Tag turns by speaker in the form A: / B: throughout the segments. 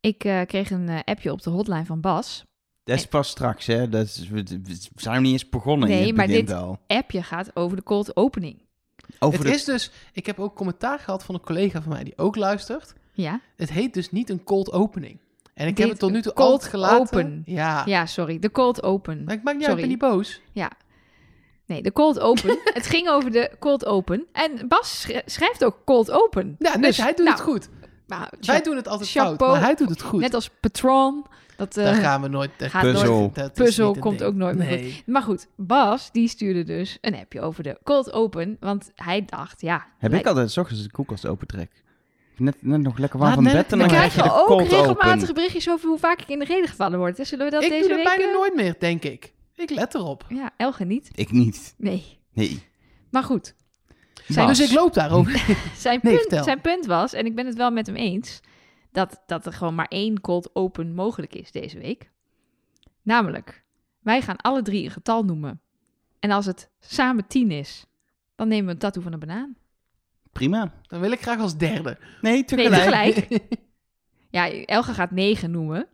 A: Ik eh, kreeg een eh, appje op de hotline van Bas.
B: Dat is pas straks, hè? Dat is, we, we zijn niet eens begonnen.
A: Nee,
B: je
A: maar
B: begint
A: dit-
B: al.
A: Appje gaat over de cold opening.
B: Over
C: Het
B: de-
C: is dus, ik heb ook commentaar gehad van een collega van mij die ook luistert.
A: Ja,
C: Het heet dus niet een cold opening. En ik
A: Dit-
C: heb het tot nu toe
A: cold
C: altijd gelaten.
A: open.
C: Ja.
A: ja sorry. De cold open.
C: Maar ik maak niet uit,
A: Sorry.
C: ik ben niet boos.
A: Nee, de cold open. het ging over de cold open. En Bas sch- schrijft ook cold open.
C: Ja, dus, hij doet het
A: nou,
C: goed.
A: nou,
C: Wij doen het altijd fout,
A: chapeau.
C: maar hij doet het goed.
A: Net als Patron. Dat, eh,
C: Daar gaan we nooit... dat-
A: gaat
B: Puzzel. nooit-
C: dat is
A: Puzzel
C: niet een
A: komt
C: ding.
A: ook nooit meer
C: nee. goed.
A: Maar goed, Bas die stuurde dus een appje over de cold open. Want hij dacht, ja...
B: Heb
A: lijkt-
B: ik altijd 's ochtends de koelkast opentrek. Net, net nog lekker warm
C: Maar
B: van
C: net-
B: bed
A: we
B: en dan
C: dan
B: krijg je de
A: krijgen ook
B: cold
A: regelmatig
B: open.
A: berichtjes over hoe vaak ik in de reden gevallen word. Dus zullen we dat
C: Ik
A: deze
C: doe
A: week...
C: het bijna
A: eh,
C: nooit meer, denk ik. Ik let erop.
A: Ja, Elge niet.
B: Ik niet.
A: Nee.
B: Nee.
A: Maar goed,
B: Zijn
C: Dus ik loop daarover.
A: zijn,
C: Nee,
A: punt,
C: vertel.
A: zijn punt was, en ik ben het wel met hem eens, dat, dat er gewoon maar één cold open mogelijk is deze week. Namelijk, wij gaan alle drie een getal noemen. En als het samen tien is, dan nemen we een tattoo van een banaan.
B: Prima.
C: Dan wil ik graag als derde.
B: Nee,
A: Nee,
B: tegelijk.
A: tegelijk. Ja, Elge gaat negen noemen,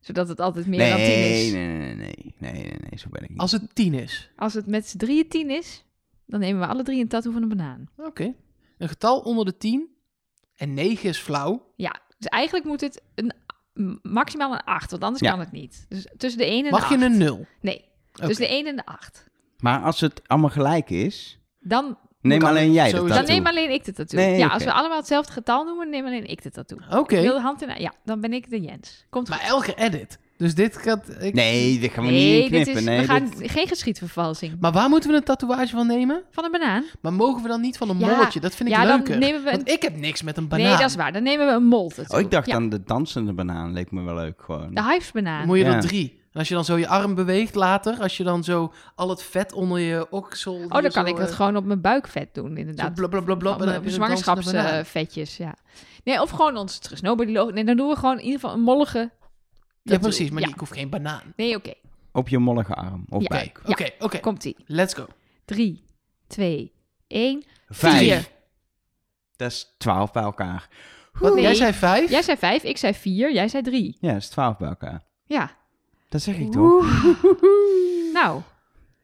A: zodat het altijd meer dan tien is.
B: nee, nee, nee, nee, nee, nee, nee, zo ben ik niet.
C: Als het tien is.
A: Als het met z'n drieën tien is, dan nemen we alle drie een tattoo van een banaan.
C: Oké. Een getal onder de tien. En negen is flauw.
A: Ja, dus eigenlijk moet het een, m- maximaal een acht, want anders
B: Ja.
A: kan het niet. Dus tussen de 1 en
C: Mag
A: de
C: je
A: acht.
C: een nul?
A: Nee,
C: Oké.
A: tussen Dus de 1 en de 8.
B: Maar als het allemaal gelijk is,
A: Dan,
B: neem
C: Dan
B: alleen jij de
C: sowieso-
B: tattoo.
A: dan neem alleen ik de tattoo.
B: Nee,
A: ja,
B: oké.
A: als we allemaal hetzelfde getal noemen, neem alleen ik de tattoo.
C: Oké.
A: Heel de hand in... Ja, dan ben ik de Jens. Komt
C: Maar
A: goed.
C: elke edit. Dus dit gaat... Ik...
B: Nee, dit gaan we niet
A: Nee,
B: in knippen.
A: dit is,
B: nee,
A: we gaan
B: dit-
A: geen geschiedvervalsing.
C: Maar waar moeten we een tatoeage van nemen?
A: Van een banaan?
C: Maar mogen we dan niet van een
A: Ja.
C: molletje? Dat vind ik
A: ja,
C: leuker.
A: dan nemen we een...
C: Want ik heb niks met een banaan.
A: Nee, dat is waar. Dan nemen we een mol tattoo.
B: Oh, ik dacht
A: Ja,
B: aan de dansende banaan. Leek me wel leuk gewoon.
A: De
C: Dan
A: hivesbanaan.
C: moet je
B: Ja.
C: er drie. En als je dan zo je arm beweegt later, als je dan zo al het vet onder je oksel... eh,
A: Oh, dan kan ik dat gewoon op mijn buikvet doen, inderdaad.
C: Blablabla.
A: Van, eh,
C: zwangerschapsvet.
A: zwangerschapsvetjes, ja. Nee, of gewoon ons snowbody logo. Nee, dan doen we gewoon in ieder geval een mollige...
C: Ja,
A: tattoo.
C: precies. Maar
A: Ja.
C: die- ik hoef geen banaan.
A: Nee, oké.
B: Op je mollige arm. Of
A: Ja.
B: buik.
C: Oké, oké.
A: Komt-ie.
C: Let's go.
A: 3, 2, 1.
B: Vijf.
A: Vier.
B: Dat is twaalf bij elkaar.
C: Wat,
A: Nee.
C: Jij zei vijf?
A: Jij zei 5, ik zei 4, jij zei 3.
B: Ja, dat is twaalf bij elkaar.
A: Ja.
B: Dat zeg ik toch?
A: Oeh. Nou,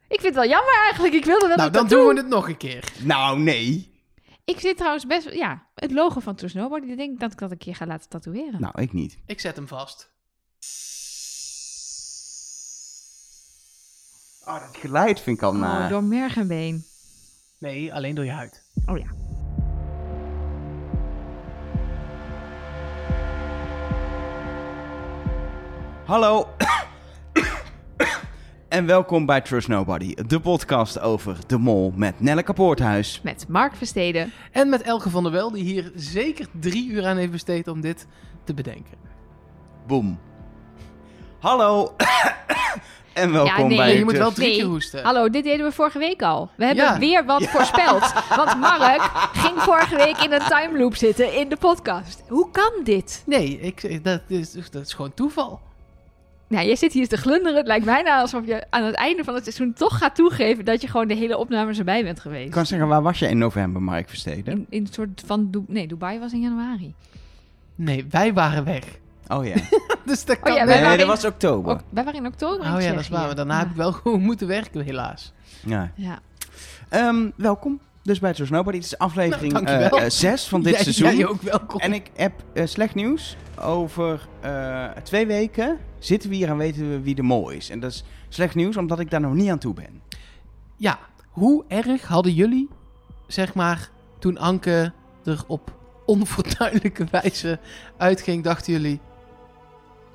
A: ik vind het wel jammer eigenlijk. Ik wilde wel
C: nou,
A: een
C: dan
A: tattoo.
C: doen we het nog een keer.
B: Nou, nee.
A: Ik zit trouwens best... Ja, het logo van True Snowbody. Ik denk dat ik dat een keer ga laten tatoeëren.
B: Nou, ik niet.
C: Ik zet hem vast.
B: Oh, dat geluid vind ik al
A: Oh,
B: naar.
A: door merg en been.
C: Nee, alleen door je huid.
A: Oh ja.
B: Hallo. en welkom bij Trust Nobody, de podcast over de mol met Nelleke Poorthuis.
A: Met Mark Versteden.
C: En met Elke van der Wel, die hier zeker drie uur aan heeft besteed om dit te bedenken.
B: Boom. Hallo. en welkom
A: Ja, nee,
B: bij
C: Nee, je moet wel
B: Trust-
C: drie
A: Nee.
C: keer hoesten.
A: Hallo, dit deden we vorige week al. We hebben
C: Ja.
A: weer wat voorspeld. Want Mark ging vorige week in een time loop zitten in de podcast. Hoe kan dit?
C: Nee, ik, dat, is, dat is gewoon toeval.
A: Nou, jij zit hier te glunderen. Het lijkt bijna alsof je aan het einde van het seizoen toch gaat toegeven dat je gewoon de hele opnames erbij bent geweest.
B: Ik kan zeggen, waar was je in november, Mark Versteden?
A: In, in een soort van... Du- nee, Dubai was in januari.
C: Nee, wij waren weg.
B: Oh ja.
C: Dus dat kan
A: ja, wij
B: nee,
C: niet.
A: waren
B: dat
A: in-
B: was oktober.
A: Ook, wij waren in oktober in
C: Oh ja, dat is
A: Tsjechië.
C: waar. Maar daarna heb ik wel gewoon moeten werken, helaas.
B: Ja.
A: Ja.
B: Ehm, welkom. Dus bij Trust Nobody. Dit is aflevering
C: Nou, dankjewel.
B: 6 van dit
C: Jij-
B: seizoen.
C: Jij ook welkom.
B: En ik heb eh, slecht nieuws. Over eh, twee weken zitten we hier en weten we wie de mol is. En dat is slecht nieuws, omdat ik daar nog niet aan toe ben.
C: Ja, hoe erg hadden jullie, zeg maar, toen Anke er op onfortuinlijke wijze uitging, dachten jullie...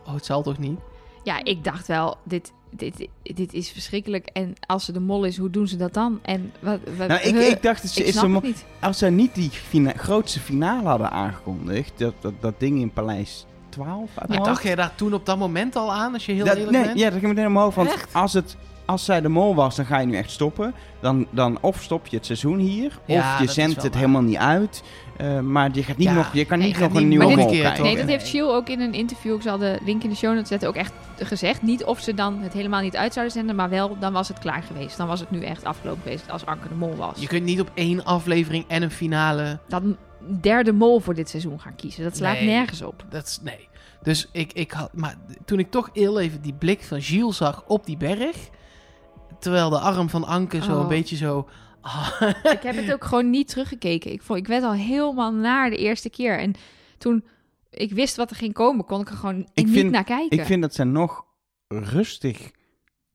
C: Oh, het zal toch niet?
A: ja, ik dacht wel, dit, dit, dit is verschrikkelijk. En als ze de mol is, hoe doen ze dat dan? En wat, wat-
C: Eh,
B: Nou, ik,
A: huh?
B: ik dacht, het
A: Ik
B: is
A: snap
B: een,
A: het niet.
B: als ze niet die fina- grootste finale hadden aangekondigd, dat, dat, dat ding in Paleis 12 uit mijn
C: Maar
B: hoofd.
C: dacht jij daar toen op dat moment al aan, als je heel
B: Dat-
C: eerlijk
B: nee,
C: bent?
B: ja, dat ging meteen omhoog. Want
A: Echt?
B: als, het, als zij de mol was, dan ga je nu echt stoppen. Dan, dan of stop je het seizoen hier,
C: Ja,
B: of
C: dat
B: je
C: is
B: zendt
C: wel
B: het
C: waar.
B: helemaal niet uit. Eh, maar je, gaat niet
C: Ja,
B: nog, je kan
A: nee,
B: niet
C: je gaat
B: nog een
C: niet
B: nieuwe
A: nog een
B: mol
C: keer,
B: kijken.
C: toch?
A: Nee, dat
C: nee.
A: heeft Jill ook in een interview, ik zal de link in de show notes zetten, ook echt gezegd. Niet of ze dan het helemaal niet uit zouden zenden, maar wel, dan was het klaar geweest. Dan was het nu echt afgelopen geweest als Anke de Mol was.
C: Je kunt niet op één aflevering en een finale...
A: Dan derde mol voor dit seizoen gaan kiezen. Dat slaat
C: Nee.
A: nergens op.
C: Dat is, nee. Dus ik, ik had, maar toen ik toch heel even die blik van Gilles zag op die berg, terwijl de arm van Anke zo
A: Oh.
C: een beetje zo... ah,
A: Ik heb het ook gewoon niet teruggekeken. Ik, vond, ik werd al helemaal naar de eerste keer. En toen ik wist wat er ging komen, kon ik er gewoon
B: Ik
A: niet
B: vind-
A: naar kijken.
B: Ik vind dat ze nog rustig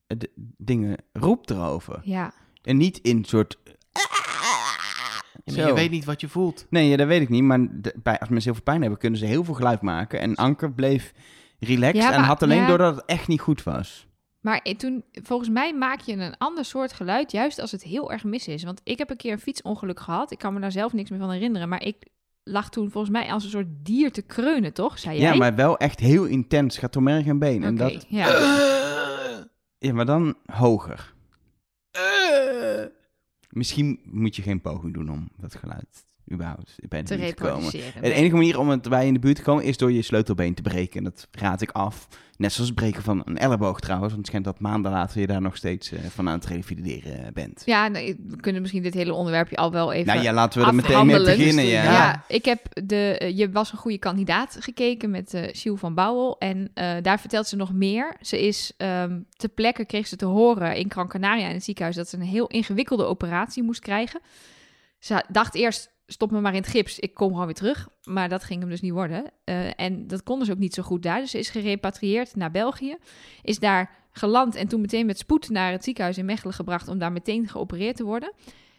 B: eh, d- dingen roept erover.
A: Ja,
B: En niet in soort...
C: Maar
B: Zo.
C: je weet niet wat je voelt.
B: Nee, ja, dat weet ik niet. Maar de- bij, als mensen heel veel pijn hebben, kunnen ze heel veel geluid maken. En Anker bleef relaxed
A: Ja,
B: en
A: maar-
B: had alleen
A: ja.
B: doordat het echt niet goed was.
A: maar i- toen, volgens mij maak je een ander soort geluid, juist als het heel erg mis is. Want ik heb een keer een fietsongeluk gehad. Ik kan me daar zelf niks meer van herinneren. Maar ik lag toen volgens mij als een soort dier te kreunen, toch? Zei jij?
B: Ja, maar wel echt heel intens. Gaat door merg en been. En
A: Oké,
B: dat,
A: ja.
B: ja, maar dan hoger. Misschien moet je geen poging doen om dat geluid überhaupt bij de
A: te
B: buurt te komen.
A: reproduceren.
B: De enige manier om het bij in de buurt te komen is door je sleutelbeen te breken. En dat raad ik af. Net zoals het breken van een elleboog trouwens. Want het schijnt dat maanden later je daar nog steeds eh, van aan het revalideren eh, bent.
A: Ja, nou, we kunnen misschien dit hele onderwerpje al wel even
B: nou ja, laten we er meteen mee
A: afhandelen. eh,
B: beginnen.
C: Dus,
B: Ja.
A: Ja.
C: Ja.
A: ik heb de eh, Je was een goede kandidaat gekeken met eh Siel van Bouwel. En eh, daar vertelt ze nog meer. Ze is ehm ter plekke, kreeg ze te horen in Gran Canaria in het ziekenhuis... dat ze een heel ingewikkelde operatie moest krijgen. Ze dacht eerst, stop me maar in het gips, ik kom gewoon weer terug. Maar dat ging hem dus niet worden. Eh, en dat konden ze ook niet zo goed daar. Dus ze is gerepatrieerd naar België. Is daar geland en toen meteen met spoed naar het ziekenhuis in Mechelen gebracht... om daar meteen geopereerd te worden.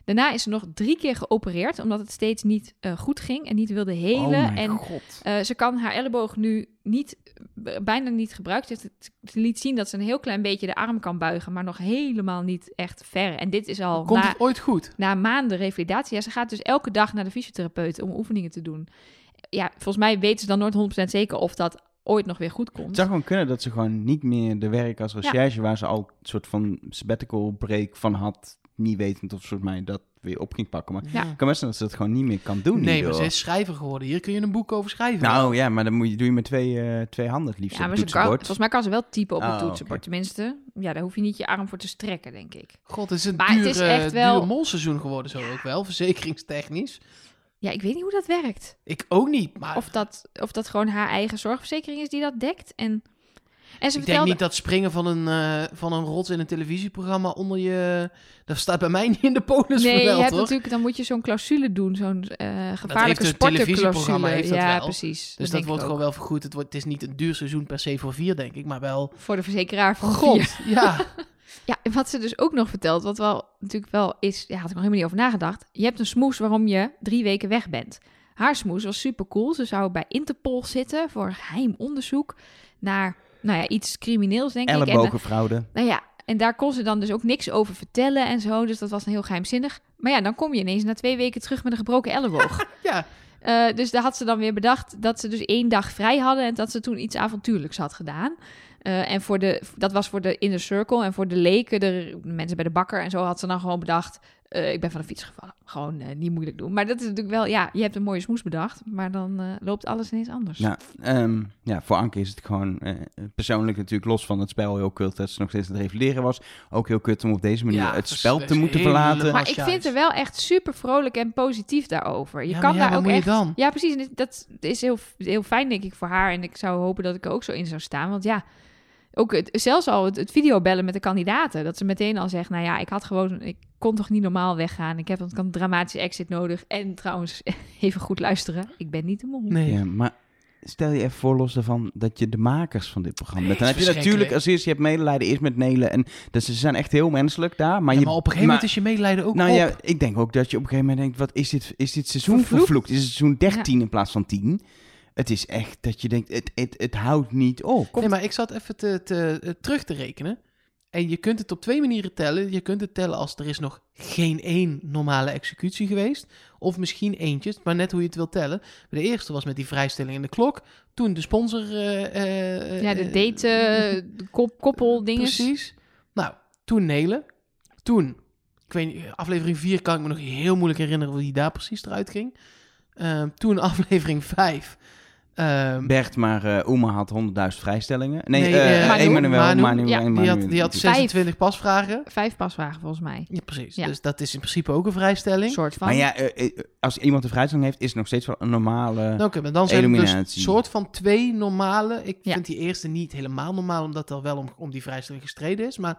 A: Daarna is ze nog drie keer geopereerd, omdat het steeds niet eh, goed ging en niet wilde
B: Oh
A: helen.
B: mijn
A: en
B: god.
A: eh, ze kan haar elleboog nu niet, b- bijna niet gebruikt. Het, het liet zien dat ze een heel klein beetje de arm kan buigen, maar nog helemaal niet echt ver. En dit is al
C: Komt
A: na,
C: het ooit goed?
A: na maanden revalidatie. Ja, ze gaat dus elke dag naar de fysiotherapeut om oefeningen te doen. Ja, volgens mij weten ze dan nooit 100% zeker of dat ooit nog weer goed
B: Het
A: komt.
B: zou gewoon kunnen dat ze gewoon niet meer de werk als recherche... waar ze al een soort van sabbatical break van had... niet wetend of soort mij dat weer op ging pakken. Maar
A: Ja.
B: het kan best zijn dat ze dat gewoon niet meer kan doen.
C: nee, maar
B: hierdoor.
C: ze is schrijver geworden. Hier kun je een boek over schrijven.
B: Nou ja, maar dan moet je, doe je met twee, eh, twee handen het liefst
A: Ja,
B: op
A: maar
B: het
A: ze kan,
B: toetsenbord.
A: volgens mij kan ze wel typen op
B: Oh,
C: Ah,
A: het
B: oké.
A: toetsenbord. Tenminste, ja, daar hoef je niet je arm voor te strekken, denk ik.
C: God, het is een
A: Maar het
C: duur,
A: is
C: eh,
A: echt wel-
C: duur molseizoen geworden zo ook wel, verzekeringstechnisch.
A: Ja, ik weet niet hoe dat werkt.
C: Ik ook niet, maar
A: Of dat, of dat gewoon haar eigen zorgverzekering is die dat dekt. En, en ze
C: ik denk
A: vertelde...
C: niet dat springen van een, eh, van een rots in een televisieprogramma onder je... Dat staat bij mij niet in de polis
A: nee, je
C: vermeld,
A: hebt
C: hoor.
A: natuurlijk, dan moet je zo'n clausule doen, zo'n eh, gevaarlijke
C: een televisieprogramma,
A: sportenclausule.
C: heeft dat
A: Ja,
C: wel.
A: precies.
C: Dus dat
A: denk
C: wordt
A: ik
C: gewoon
A: ook.
C: wel vergoed. Het, wordt, het is niet een duur seizoen per se voor vier, denk ik, maar wel...
A: voor de verzekeraar van vier.
C: God, ja.
A: Ja, en wat ze dus ook nog vertelt, wat wel natuurlijk wel is, ja, had ik nog helemaal niet over nagedacht. Je hebt een smoes waarom je drie weken weg bent. Haar smoes was super cool. Ze zou bij Interpol zitten voor een geheim onderzoek naar, nou ja, iets crimineels denk ik. En,
B: Ellebogenfraude.
A: Nou ja, en daar kon ze dan dus ook niks over vertellen en zo. Dus dat was dan heel geheimzinnig. Maar ja, dan kom je ineens na twee weken terug met een gebroken elleboog.
C: ja.
A: Eh, dus daar had ze dan weer bedacht dat ze dus één dag vrij hadden... en dat ze toen iets avontuurlijks had gedaan. Eh, en voor de, dat was voor de inner circle en voor de leken, de mensen bij de bakker en zo... had ze dan gewoon bedacht, eh, ik ben van de fiets gevallen. Gewoon eh, niet moeilijk doen. Maar dat is natuurlijk wel, ja, je hebt een mooie smoes bedacht... maar dan eh, loopt alles ineens anders.
C: Dus-
B: Ja, ehm, ja, voor Anke is het gewoon eh, persoonlijk natuurlijk los van het spel heel kut dat ze nog steeds aan het revalideren was. Ook heel kut om op deze manier
C: Ja,
B: het
C: dat
B: spel
C: is
B: te moeten
C: helemaal-
B: verlaten.
A: Maar
C: Als
A: ik
C: juist.
A: vind er wel echt super vrolijk en positief daarover. Je
C: Ja,
A: kan
C: maar ja,
A: daar
C: wat
A: ook
C: moet je
A: echt.
C: dan?
A: Ja, precies. En dit- dat is heel, heel fijn, denk ik, voor haar. En ik zou hopen dat ik er ook zo in zou staan. Want ja, ook het, zelfs al het, het videobellen met de kandidaten. Dat ze meteen al zegt: Nou ja, ik had gewoon. Ik kon toch niet normaal weggaan. Ik heb een kan- dramatische exit nodig. En trouwens, even goed luisteren. Ik ben niet de mol.
C: Nee.
B: Ja, maar stel je even voor los daarvan dat je de makers van dit programma bent. Dan
C: Nee,
B: heb
C: is
B: je natuurlijk
C: verschrikkelijk.
B: als eerst, je hebt medelijden eerst met Nelen. En, dus ze zijn echt heel menselijk daar. Maar,
C: Ja,
B: je,
C: maar op een gegeven moment is je medelijden ook
B: Nou
C: op.
B: ja, ik denk ook dat je op een gegeven moment denkt: wat is dit, is dit seizoen
A: Vervloekt.
B: vervloekt? Is het seizoen 13 in plaats van 10? Het is echt dat je denkt: het, het, het houdt niet op.
C: Nee, maar ik zat even te, te- eh, terug te rekenen. En je kunt het op twee manieren tellen. Je kunt het tellen als er is nog geen één normale executie geweest. Of misschien eentjes, maar net hoe je het wil tellen. De eerste was met die vrijstelling in de klok. Toen de sponsor... eh, eh,
A: Ja, de
C: eh,
A: date, eh, de kop, koppel dingen.
C: Precies. Nou, toen Nelen. Toen, ik weet niet, aflevering 4 kan ik me nog heel moeilijk herinneren hoe die daar precies eruit ging. Ehm, toen aflevering 5 Ehm,
B: Bert, maar eh Oema had 100.000 vrijstellingen. Nee,
C: Nee,
B: eh,
C: eh,
A: Manu.
B: Emmanuel.
C: Manu.
B: Manu,
A: Ja,
B: Emmanuel.
C: die, had, die had
A: Vijf.
C: 26 pasvragen.
A: Vijf pasvragen volgens mij.
C: Ja, precies.
A: Ja.
C: Dus dat is in principe ook een vrijstelling.
A: Een soort van.
B: Maar ja, eh, eh, als iemand een vrijstelling heeft, is het nog steeds wel een normale...
C: Nou, Oké, maar dan zijn er dus een
B: Eliminatie.
C: soort van twee normale. Ik
A: Ja.
C: vind die eerste niet helemaal normaal, omdat er wel om, om die vrijstelling gestreden is. Maar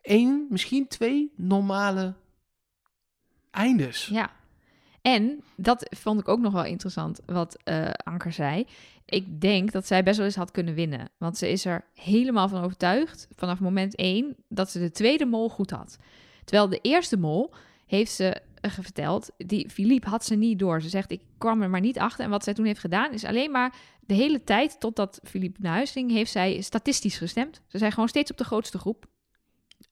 C: één, misschien twee normale eindes.
A: Ja. En dat vond ik ook nog wel interessant wat eh, Anker zei. Ik denk dat zij best wel eens had kunnen winnen. Want ze is er helemaal van overtuigd vanaf moment één dat ze de tweede mol goed had. Terwijl de eerste mol heeft ze eh, ge- verteld, die Philippe had ze niet door. Ze zegt, ik kwam er maar niet achter. En wat zij toen heeft gedaan is alleen maar de hele tijd totdat Philippe naar huis ging, heeft zij statistisch gestemd. Ze zijn gewoon steeds op de grootste groep.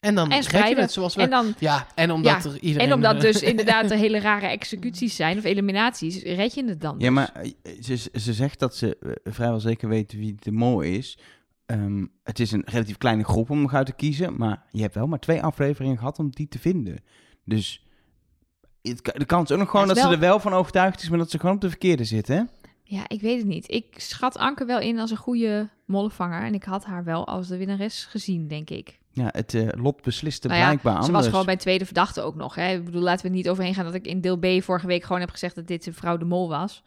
C: En dan
A: En
C: trek je
A: spreiden.
C: het zoals we.
A: En dan
C: ja, en omdat er iedereen.
A: en omdat
C: eh,
A: dus inderdaad er hele rare executies zijn of eliminaties, red je het dan?
B: Ja,
A: dus.
B: maar eh, ze, ze zegt dat ze eh, vrijwel zeker weet wie de mol is. Ehm, het is een relatief kleine groep om nog uit te kiezen, maar je hebt wel maar twee afleveringen gehad om die te vinden. Dus het, ka- de kans is ook nog gewoon
A: Ja,
B: dat
A: is wel-
B: ze er wel van overtuigd is, maar dat ze gewoon op de verkeerde zit, hè?
A: Ja, ik weet het niet. Ik schat Anke wel in als een goede mollenvanger en ik had haar wel als de winnares gezien, denk ik.
B: Ja, het eh, lot besliste
A: Nou ja,
B: blijkbaar
A: Ze
B: anders.
A: was gewoon bij tweede verdachte ook nog. Hè? Ik bedoel, laten we er niet overheen gaan dat ik in deel B vorige week gewoon heb gezegd dat dit een vrouw de mol was.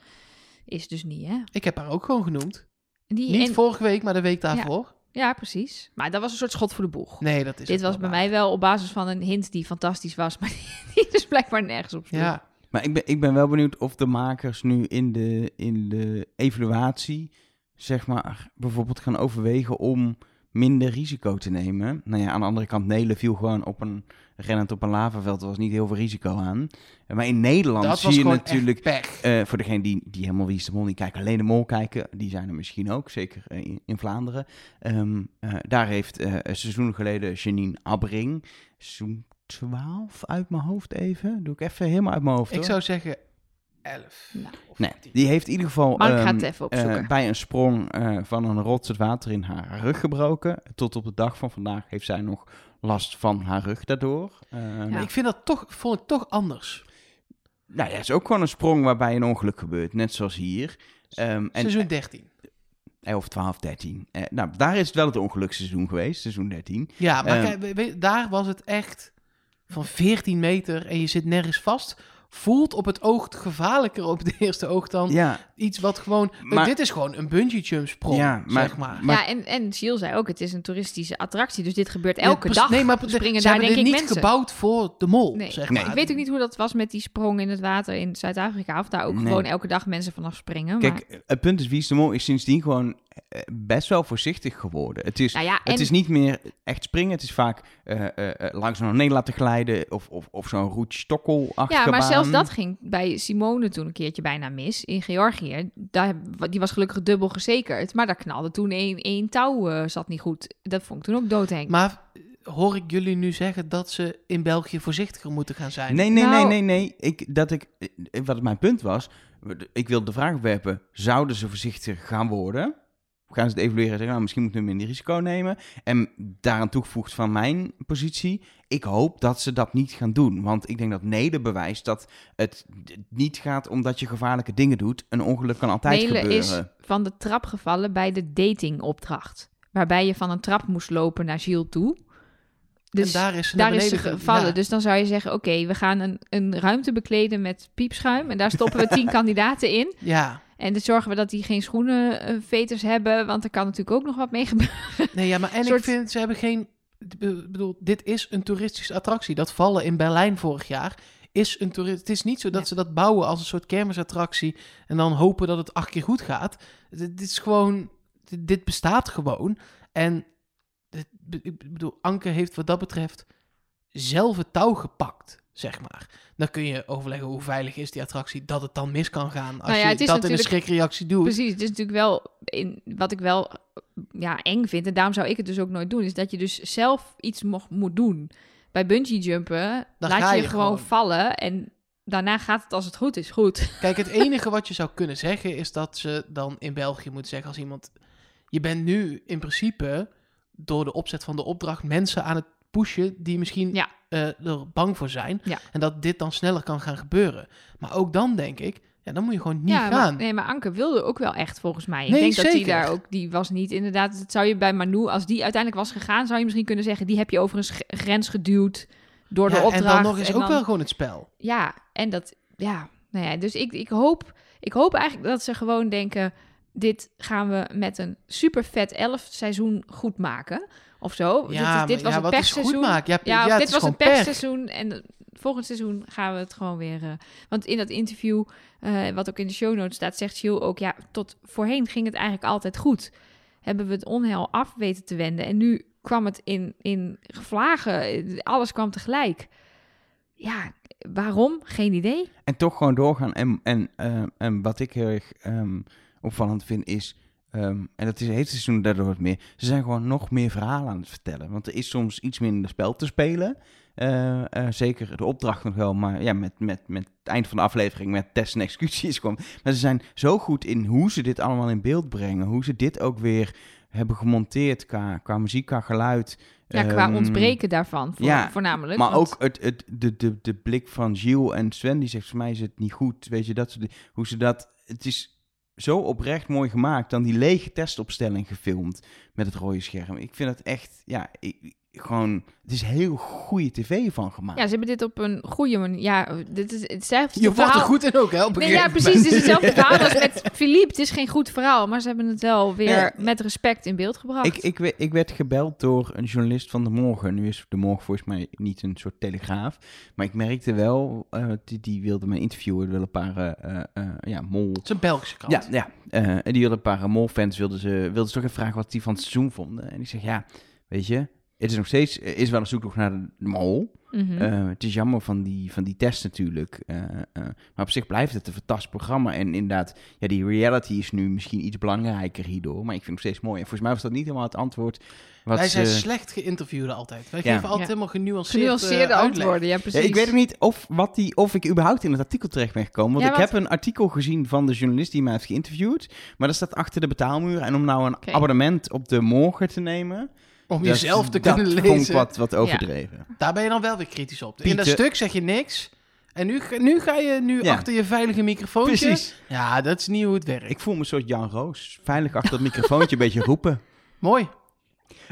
A: Is dus niet, hè?
C: Ik heb haar ook gewoon genoemd.
A: Die,
C: Niet
A: en-
C: vorige week, maar de week daarvoor.
A: Ja, precies. Maar dat was een soort schot voor de boeg.
C: Nee, dat is.
A: dit
C: ook
A: was bij
C: wel
A: mij wel op basis van een hint die fantastisch was, maar die dus blijkbaar nergens op
C: waar.
A: sloeg.
C: Ja.
B: Maar ik ben, ik ben wel benieuwd of de makers nu in de, in de evaluatie, zeg maar, bijvoorbeeld gaan overwegen om minder risico te nemen. Nou ja, aan de andere kant, Nelen viel gewoon op een rennend op een lavaveld. Er was niet heel veel risico aan. Maar in Nederland
C: Dat was
B: zie je
C: gewoon
B: natuurlijk,
C: echt pech.
B: eh, voor degene die, die helemaal Wie is de Mol niet kijken, alleen de Mol kijken, die zijn er misschien ook, zeker eh, in, in Vlaanderen. Ehm, eh, daar heeft eh, een seizoen geleden Janine Abbring, seizoen 12 uit mijn hoofd even, doe ik even helemaal uit mijn hoofd
C: Ik
B: hoor.
C: zou zeggen 11.
A: Nou.
C: Of
B: Nee,
C: 10.
B: die heeft in ieder geval
A: Mark gaat
B: ehm,
A: het even
B: eh,
A: opzoeken.
B: bij een sprong eh, van een rots het water in haar rug gebroken. Tot op de dag van vandaag heeft zij nog last van haar rug daardoor. Ehm,
A: Ja.
C: Maar Ik vind dat toch, vond ik toch anders.
B: Nou ja, het is ook gewoon een sprong waarbij een ongeluk gebeurt, net zoals hier. Ehm, en,
C: Seizoen 13.
B: eh, of 12, 13. Eh, nou, daar is het wel het ongelukseizoen geweest, seizoen 13.
C: Ja, maar
B: Ehm.
C: kijk, we- we- daar was het echt van 14 meter en je zit nergens vast. Voelt op het oog gevaarlijker op het eerste oog dan
B: Ja,
C: iets wat gewoon...
B: Maar-
C: dit is gewoon een bungee jump sprong,
B: Ja, maar-
C: zeg maar.
B: Maar-
A: ja, en, en Gilles zei ook, het is een toeristische attractie, dus dit gebeurt elke
C: Ja,
A: dag.
C: Nee, maar
A: springen
C: ze
A: daar
C: hebben
A: denk
C: dit
A: ik
C: niet
A: mensen.
C: gebouwd voor de mol,
A: Nee.
C: zeg
B: Nee.
C: maar.
A: ik weet ook niet hoe dat was met die sprong in het water in Zuid-Afrika, of daar ook
B: Nee.
A: gewoon elke dag mensen vanaf springen. Maar,
B: kijk, het punt is, Wie is de Mol is sindsdien gewoon eh, best wel voorzichtig geworden. Het is,
A: nou ja, en
B: Het is niet meer echt springen. Het is vaak eh, eh, eh, langs een nee laten glijden. Of, of, of zo'n roet stokkelachtige
A: ja, maar
B: baan.
A: zelfs dat ging bij Simone toen een keertje bijna mis in Georgië. Daar, die was gelukkig dubbel gezekerd, maar daar knalde toen één, één touw, eh, zat niet goed. Dat vond ik toen ook doodheng.
C: Maar eh, hoor ik jullie nu zeggen dat ze in België voorzichtiger moeten gaan zijn?
B: Nee, nee,
A: Nou-
B: nee, nee, nee. Ik, dat ik, eh, wat mijn punt was, ik wilde de vraag opwerpen, zouden ze voorzichtig gaan worden? Gaan ze het evalueren en zeggen, nou, misschien moeten we minder risico nemen? En daaraan toegevoegd van mijn positie, ik hoop dat ze dat niet gaan doen. Want ik denk dat Neder bewijst dat het d- niet gaat omdat je gevaarlijke dingen doet. Een ongeluk kan altijd
A: Melen
B: gebeuren.
A: is van de trap gevallen bij de datingopdracht, waarbij je van een trap moest lopen naar Gilles toe.
C: en daar is
A: Dus
C: ze
A: Daar
C: naar
A: is ze
C: beneden
A: gevallen.
C: ja.
A: Dus dan zou je zeggen, oké, we gaan een, een ruimte bekleden met piepschuim. En daar stoppen we tien kandidaten in.
C: Ja,
A: En dan zorgen we dat die geen schoenen eh, veters hebben. Want er kan natuurlijk ook nog wat mee gebeuren.
C: Nee, ja, maar en
A: soort-
C: ik vind, ze hebben geen... Ik be- bedoel, dit is een toeristische attractie. Dat vallen in Berlijn vorig jaar is een toerist... Het is niet zo dat
A: Ja.
C: ze dat bouwen als een soort kermisattractie... en dan hopen dat het acht keer goed gaat. Dit dit is gewoon... Dit, dit bestaat gewoon. En dit- be- ik bedoel, Anke heeft wat dat betreft zelf het touw gepakt, zeg maar. Dan kun je overleggen hoe veilig is die attractie... dat het dan mis kan gaan als
A: Nou ja,
C: je
A: het is
C: dat in een
A: natuurlijk-
C: schrikreactie doet.
A: Precies, het is natuurlijk wel in, wat ik wel ja, eng vind. En daarom zou ik het dus ook nooit doen. Is dat je dus zelf iets mocht, moet doen. Bij bungee jumpen
C: Dan
A: laat
C: ga
A: je,
C: je
A: gewoon,
C: gewoon.
A: vallen. En daarna gaat het als het goed is goed.
C: Kijk, het enige wat je zou kunnen zeggen is dat ze dan in België moet zeggen als iemand... Je bent nu in principe door de opzet van de opdracht mensen aan het pushen die misschien
A: Ja.
C: eh, er bang voor zijn.
A: Ja.
C: En dat dit dan sneller kan gaan gebeuren. Maar ook dan denk ik, Ja, dan moet je gewoon niet
A: ja, maar-
C: gaan.
A: nee, maar Anke wilde ook wel echt volgens mij. Ik
C: Nee,
A: denk dat die
C: zeker.
A: daar ook, die was niet inderdaad. Dat zou je bij Manu, als die uiteindelijk was gegaan, zou je misschien kunnen zeggen: die heb je over een sch- grens geduwd door
C: Ja,
A: de opdracht.
C: en dan nog eens
A: en
C: ook
A: dan-
C: wel gewoon het spel.
A: Ja, en dat, ja, nou ja, dus ik, ik, hoop, ik hoop eigenlijk dat ze gewoon denken: dit gaan we met een super vet elf seizoen goed maken. Of zo. Oh, dit
C: Ja,
A: dit
C: maar
A: was
C: ja,
A: een
C: wat is goed
A: pechseizoen.
C: maken? Ja,
A: Ja,
C: ja,
A: of
C: het
A: dit
C: is
A: was een
C: gewoon pech.
A: pechseizoen en volgend seizoen gaan we het gewoon weer... eh, want in dat interview, eh, wat ook in de show notes staat, zegt Jules ook... Ja, tot voorheen ging het eigenlijk altijd goed. Hebben we het onheil af weten te wenden. En nu kwam het in, in gevlagen. eh, Alles kwam tegelijk. Ja, waarom? Geen idee.
B: En toch gewoon doorgaan. En, en, ehm, en wat ik heel erg ehm, opvallend vind is. ehm, en dat is het hele seizoen daardoor het meer. Ze zijn gewoon nog meer verhalen aan het vertellen. Want er is soms iets minder spel te spelen. Eh, eh, zeker de opdracht nog wel. Maar ja, met, met, met het eind van de aflevering. Met test en executie is gewoon. Maar ze zijn zo goed in hoe ze dit allemaal in beeld brengen. Hoe ze dit ook weer hebben gemonteerd. Qua, qua muziek, qua geluid.
A: Ja, qua
B: Ehm,
A: ontbreken daarvan voor,
B: ja,
A: voornamelijk.
B: maar
A: want-
B: ook het, het, de, de, de blik van Gilles en Sven, die zegt, voor mij is het niet goed. Weet je, dat soort dingen. Hoe ze dat... Het is zo oprecht mooi gemaakt. Dan die lege testopstelling gefilmd met het rode scherm. Ik vind het echt, ja, ik- ik- gewoon... Het is heel goede tv van gemaakt.
A: Ja, ze hebben dit op een goede manier... Ja, dit is hetzelfde
C: Je wordt er
A: verhaal-
C: goed in ook, hè? op een
A: Nee, ja,
C: gegeven
A: precies. Het is hetzelfde verhaal als met Philippe. Het is geen goed verhaal, maar ze hebben het wel weer met respect in beeld gebracht.
B: Ik, ik, we- ik werd gebeld door een journalist van De Morgen. Nu is De Morgen volgens mij niet een soort telegraaf. Maar ik merkte wel, eh, die, die wilde mijn interviewen, wel een paar eh, eh, eh, ja, mol...
C: Het is een Belgische krant.
B: Ja, ja. Eh, en die wilden een paar Mol-fans wilden ze, wilden ze toch even vragen wat die van het seizoen vonden. En ik zeg, ja, weet je, het is nog steeds, er is wel een zoektocht naar de Mol.
A: Mhm.
B: Eh, het is jammer van die, van die test natuurlijk. Eh, eh, maar op zich blijft het een fantastisch programma. En inderdaad, ja, die reality is nu misschien iets belangrijker hierdoor. Maar ik vind het nog steeds mooi. En volgens mij was dat niet helemaal het antwoord. Wat
C: Wij zijn
B: ze-
C: slecht geïnterviewden altijd. Wij
B: Ja.
C: geven altijd
A: Ja.
C: helemaal genuanceerd, eh,
A: Genuanceerde
C: uitleg.
A: antwoorden, ja
B: Ja,
A: precies.
B: ik weet ook niet of, wat die, of ik überhaupt in het artikel terecht ben gekomen. Want
A: Ja,
B: ik
A: want-
B: heb een artikel gezien van de journalist die mij heeft geïnterviewd. Maar dat staat achter de betaalmuur. En om nou een
A: Oké.
B: abonnement op de morgen te nemen.
C: Om
B: dat-
C: jezelf te
B: dat
C: kunnen
B: vond ik
C: lezen.
B: wat, wat overdreven.
C: Daar ben je dan wel weer kritisch op. In dat
B: Pieter-
C: stuk zeg je niks. En nu, ga- nu ga je nu
B: Ja.
C: achter je veilige microfoontje.
B: Precies.
C: Ja, dat is niet hoe het werkt.
B: Ik voel me een soort Jan Roos. Veilig achter dat microfoontje een beetje roepen.
C: Mooi.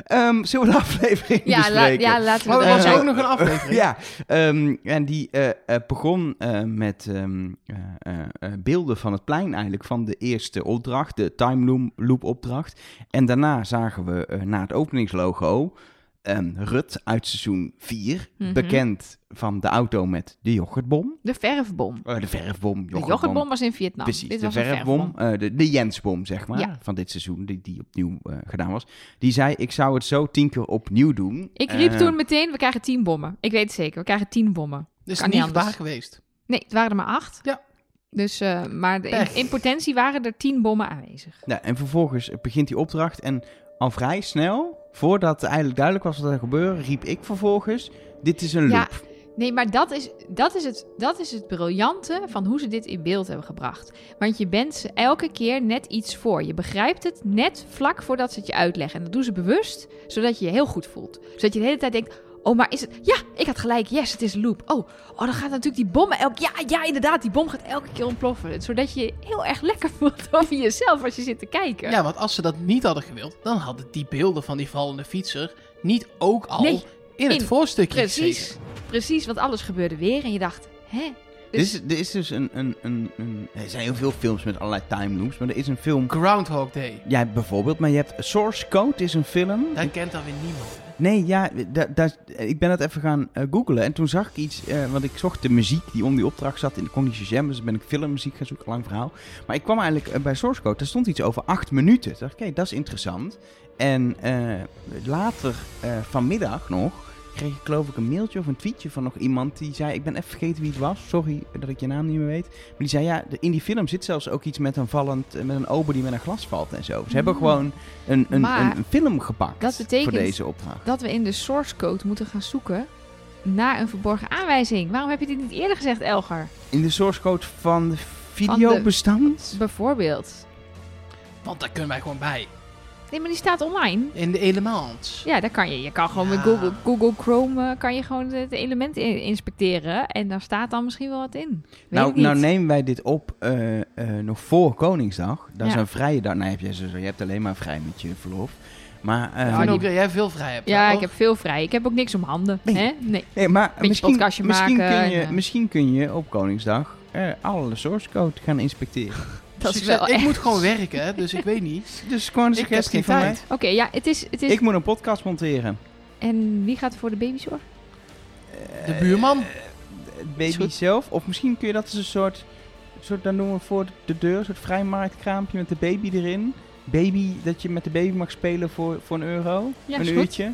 B: Ehm, zullen we de aflevering
A: ja, la-
B: bespreken?
A: ja, laten we
C: Maar er
A: dat
C: was
A: doen.
C: ook nog een aflevering.
B: Eh, Ja, ehm, en die eh, eh, begon eh, met ehm, eh, eh, eh, beelden van het plein eigenlijk, van de eerste opdracht, de time loom- loop opdracht. En daarna zagen we eh, na het openingslogo ehm, Rut uit seizoen 4,
A: Mhm.
B: bekend van de auto met de yoghurtbom.
A: De verfbom.
B: Eh, de verfbom,
A: De
B: yoghurtbom.
A: yoghurtbom was in Vietnam.
B: Precies,
A: Dit
B: de
A: was een
B: verfbom, eh, de, de Jensbom, zeg maar,
A: Ja.
B: van dit seizoen, die, die opnieuw eh, gedaan was. Die zei, ik zou het zo tien keer opnieuw doen.
A: Ik riep
B: Eh,
A: toen meteen, we krijgen tien bommen. Ik weet het zeker, we krijgen tien bommen.
C: Dus
A: Kan niet
C: niet
A: anders.
C: waar geweest.
A: Nee, het waren er maar acht.
C: Ja.
A: Dus, eh, maar de- in,
C: Pech.
A: in potentie waren er tien bommen aanwezig.
B: Ja, Nou, en vervolgens begint die opdracht. En al vrij snel, voordat eigenlijk duidelijk was wat er gebeurde, riep ik vervolgens: Dit is een
A: Ja.
B: loop.
A: Nee, maar dat is, dat, is het, dat is het briljante van hoe ze dit in beeld hebben gebracht. Want je bent ze elke keer net iets voor. Je begrijpt het net vlak voordat ze het je uitleggen. En dat doen ze bewust, zodat je je heel goed voelt. Zodat je de hele tijd denkt, oh, maar is het... Ja, ik had gelijk. Yes, het is een loop. Oh, oh dan gaat natuurlijk die bom elk... Ja, ja, inderdaad, die bom gaat elke keer ontploffen. Zodat je je heel erg lekker voelt over jezelf als je zit te kijken.
C: Ja, want als ze dat niet hadden gewild, dan hadden die beelden van die vallende fietser niet ook al
A: Nee,
C: in het
A: in-
C: voorstukje
A: Precies,
C: gezeten.
A: precies, want alles gebeurde weer en je dacht, hè?
B: Dit is- Er is dus een, een, een, een. Er zijn heel veel films met allerlei time loops, maar er is een film.
C: Groundhog Day.
B: Ja, bijvoorbeeld, maar je hebt Source Code is een film.
C: Dat kent dan weer niemand. hè?
B: Nee, ja, da- daar- ik ben dat even gaan eh, googlen. En toen zag ik iets, eh, want ik zocht de muziek die om die opdracht zat in de Cognition Jam. Dus ben ik filmmuziek gaan zoeken, lang verhaal. Maar ik kwam eigenlijk eh, bij Source Code, daar stond iets over acht minuten. Toen dacht ik, oké, dat is interessant. En eh, later eh, vanmiddag nog kreeg ik geloof ik een mailtje of een tweetje van nog iemand die zei... Ik ben even vergeten wie het was, sorry dat ik je naam niet meer weet. Maar die zei, ja, de- in die film zit zelfs ook iets met een vallend... eh, met een ober die met een glas valt en zo. Ze hebben
A: Mm.
B: gewoon een, een,
A: Maar
B: een, een film gepakt
A: dat betekent-
B: voor deze opdracht.
A: dat we in de source code moeten gaan zoeken naar een verborgen aanwijzing. Waarom heb je dit niet eerder gezegd, Elgar?
B: In de source code van de
A: Van de-
B: videobestand?
A: Bijvoorbeeld.
C: Want daar kunnen wij gewoon bij.
A: Nee, maar die staat online.
C: In de elements.
A: Ja, daar kan je. Je kan gewoon met
C: Ja.
A: Google, Google Chrome eh, kan je gewoon het element in- inspecteren. En daar staat dan misschien wel wat in. Weet ik
B: Nou,
A: niet.
B: nou nemen wij dit op eh, eh, nog voor Koningsdag. Dat is
A: Ja.
B: een vrije dag. Nou, heb je, zo- je hebt alleen maar vrij met je verlof. Maar, eh,
C: Ik vind ook dat jij veel vrij hebt.
A: Ja,
C: hoor.
A: ik heb veel vrij. Ik heb ook niks om handen.
B: Nee.
A: Hè? Nee.
B: nee, maar
A: beetje
B: misschien,
A: podcastje
B: misschien,
A: maken
B: kun je,
A: en, eh.
B: misschien kun je op Koningsdag eh, alle source code gaan inspecteren.
A: Dat
C: Dus
A: is
C: ik zeg,
A: wel
C: Ik
A: echt.
C: moet gewoon werken, hè, dus ik weet niet.
B: Dus gewoon een
C: ik heb
B: suggestie
C: geen
B: van mij.
C: tijd.
A: Oké, ja, het is, het is...
B: Ik moet een podcast monteren.
A: En wie gaat voor de baby zorgen?
C: De buurman.
B: Het
C: Is
B: baby
C: goed.
B: zelf. Of misschien kun je dat als een soort, soort... Dan doen we voor de deur een soort vrijmarktkraampje met de baby erin. Baby, dat je met de baby mag spelen voor, voor een euro.
A: Ja,
B: een
A: is goed.
B: uurtje.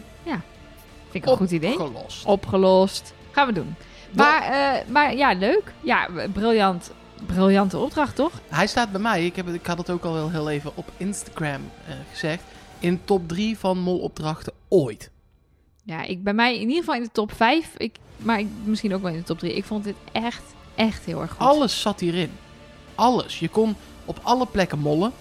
A: Vind ik een goed idee.
C: Opgelost.
A: Opgelost. Gaan we doen. Maar, eh, maar ja, leuk. Ja, briljant. Briljante opdracht, toch?
C: Hij staat bij mij. Ik, heb, het- ik had het ook al heel, heel even op Instagram eh, gezegd. In top 3 van molopdrachten ooit.
A: Ja, ik, bij mij in ieder geval in de top 5. Ik, maar ik, misschien ook wel in de top 3. Ik vond dit echt, echt heel erg goed.
C: Alles zat hierin. Alles. Je kon op alle plekken mollen.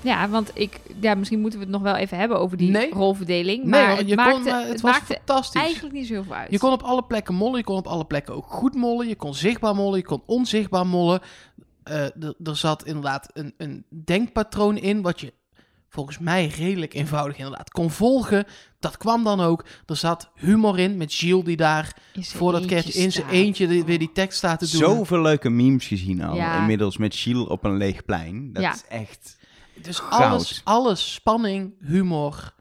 A: Ja, want ik, ja, misschien moeten we het nog wel even hebben over die
C: Nee.
A: rolverdeling.
C: nee,
A: Maar
C: hoor,
A: het
C: je
A: maakte,
C: kon, eh, het, was
A: maakte
C: fantastisch.
A: eigenlijk niet zo heel veel uit.
C: Je kon op alle plekken mollen. Je kon op alle plekken ook goed mollen. Je kon zichtbaar mollen. Je kon onzichtbaar mollen. Eh, d- er zat inderdaad een, een denkpatroon in. Wat je volgens mij redelijk eenvoudig inderdaad kon volgen. Dat kwam dan ook. Er zat humor in met Gilles die daar
A: In zijn
C: Voordat
A: eentje
C: Cat in zijn
A: staat.
C: eentje de- weer die tekst staat te doen.
B: Zoveel leuke memes gezien al.
A: Ja.
B: Inmiddels met Shield op een leeg plein. Dat
A: Ja.
B: is echt...
C: Dus
B: goud.
C: alles, alles, spanning, humor.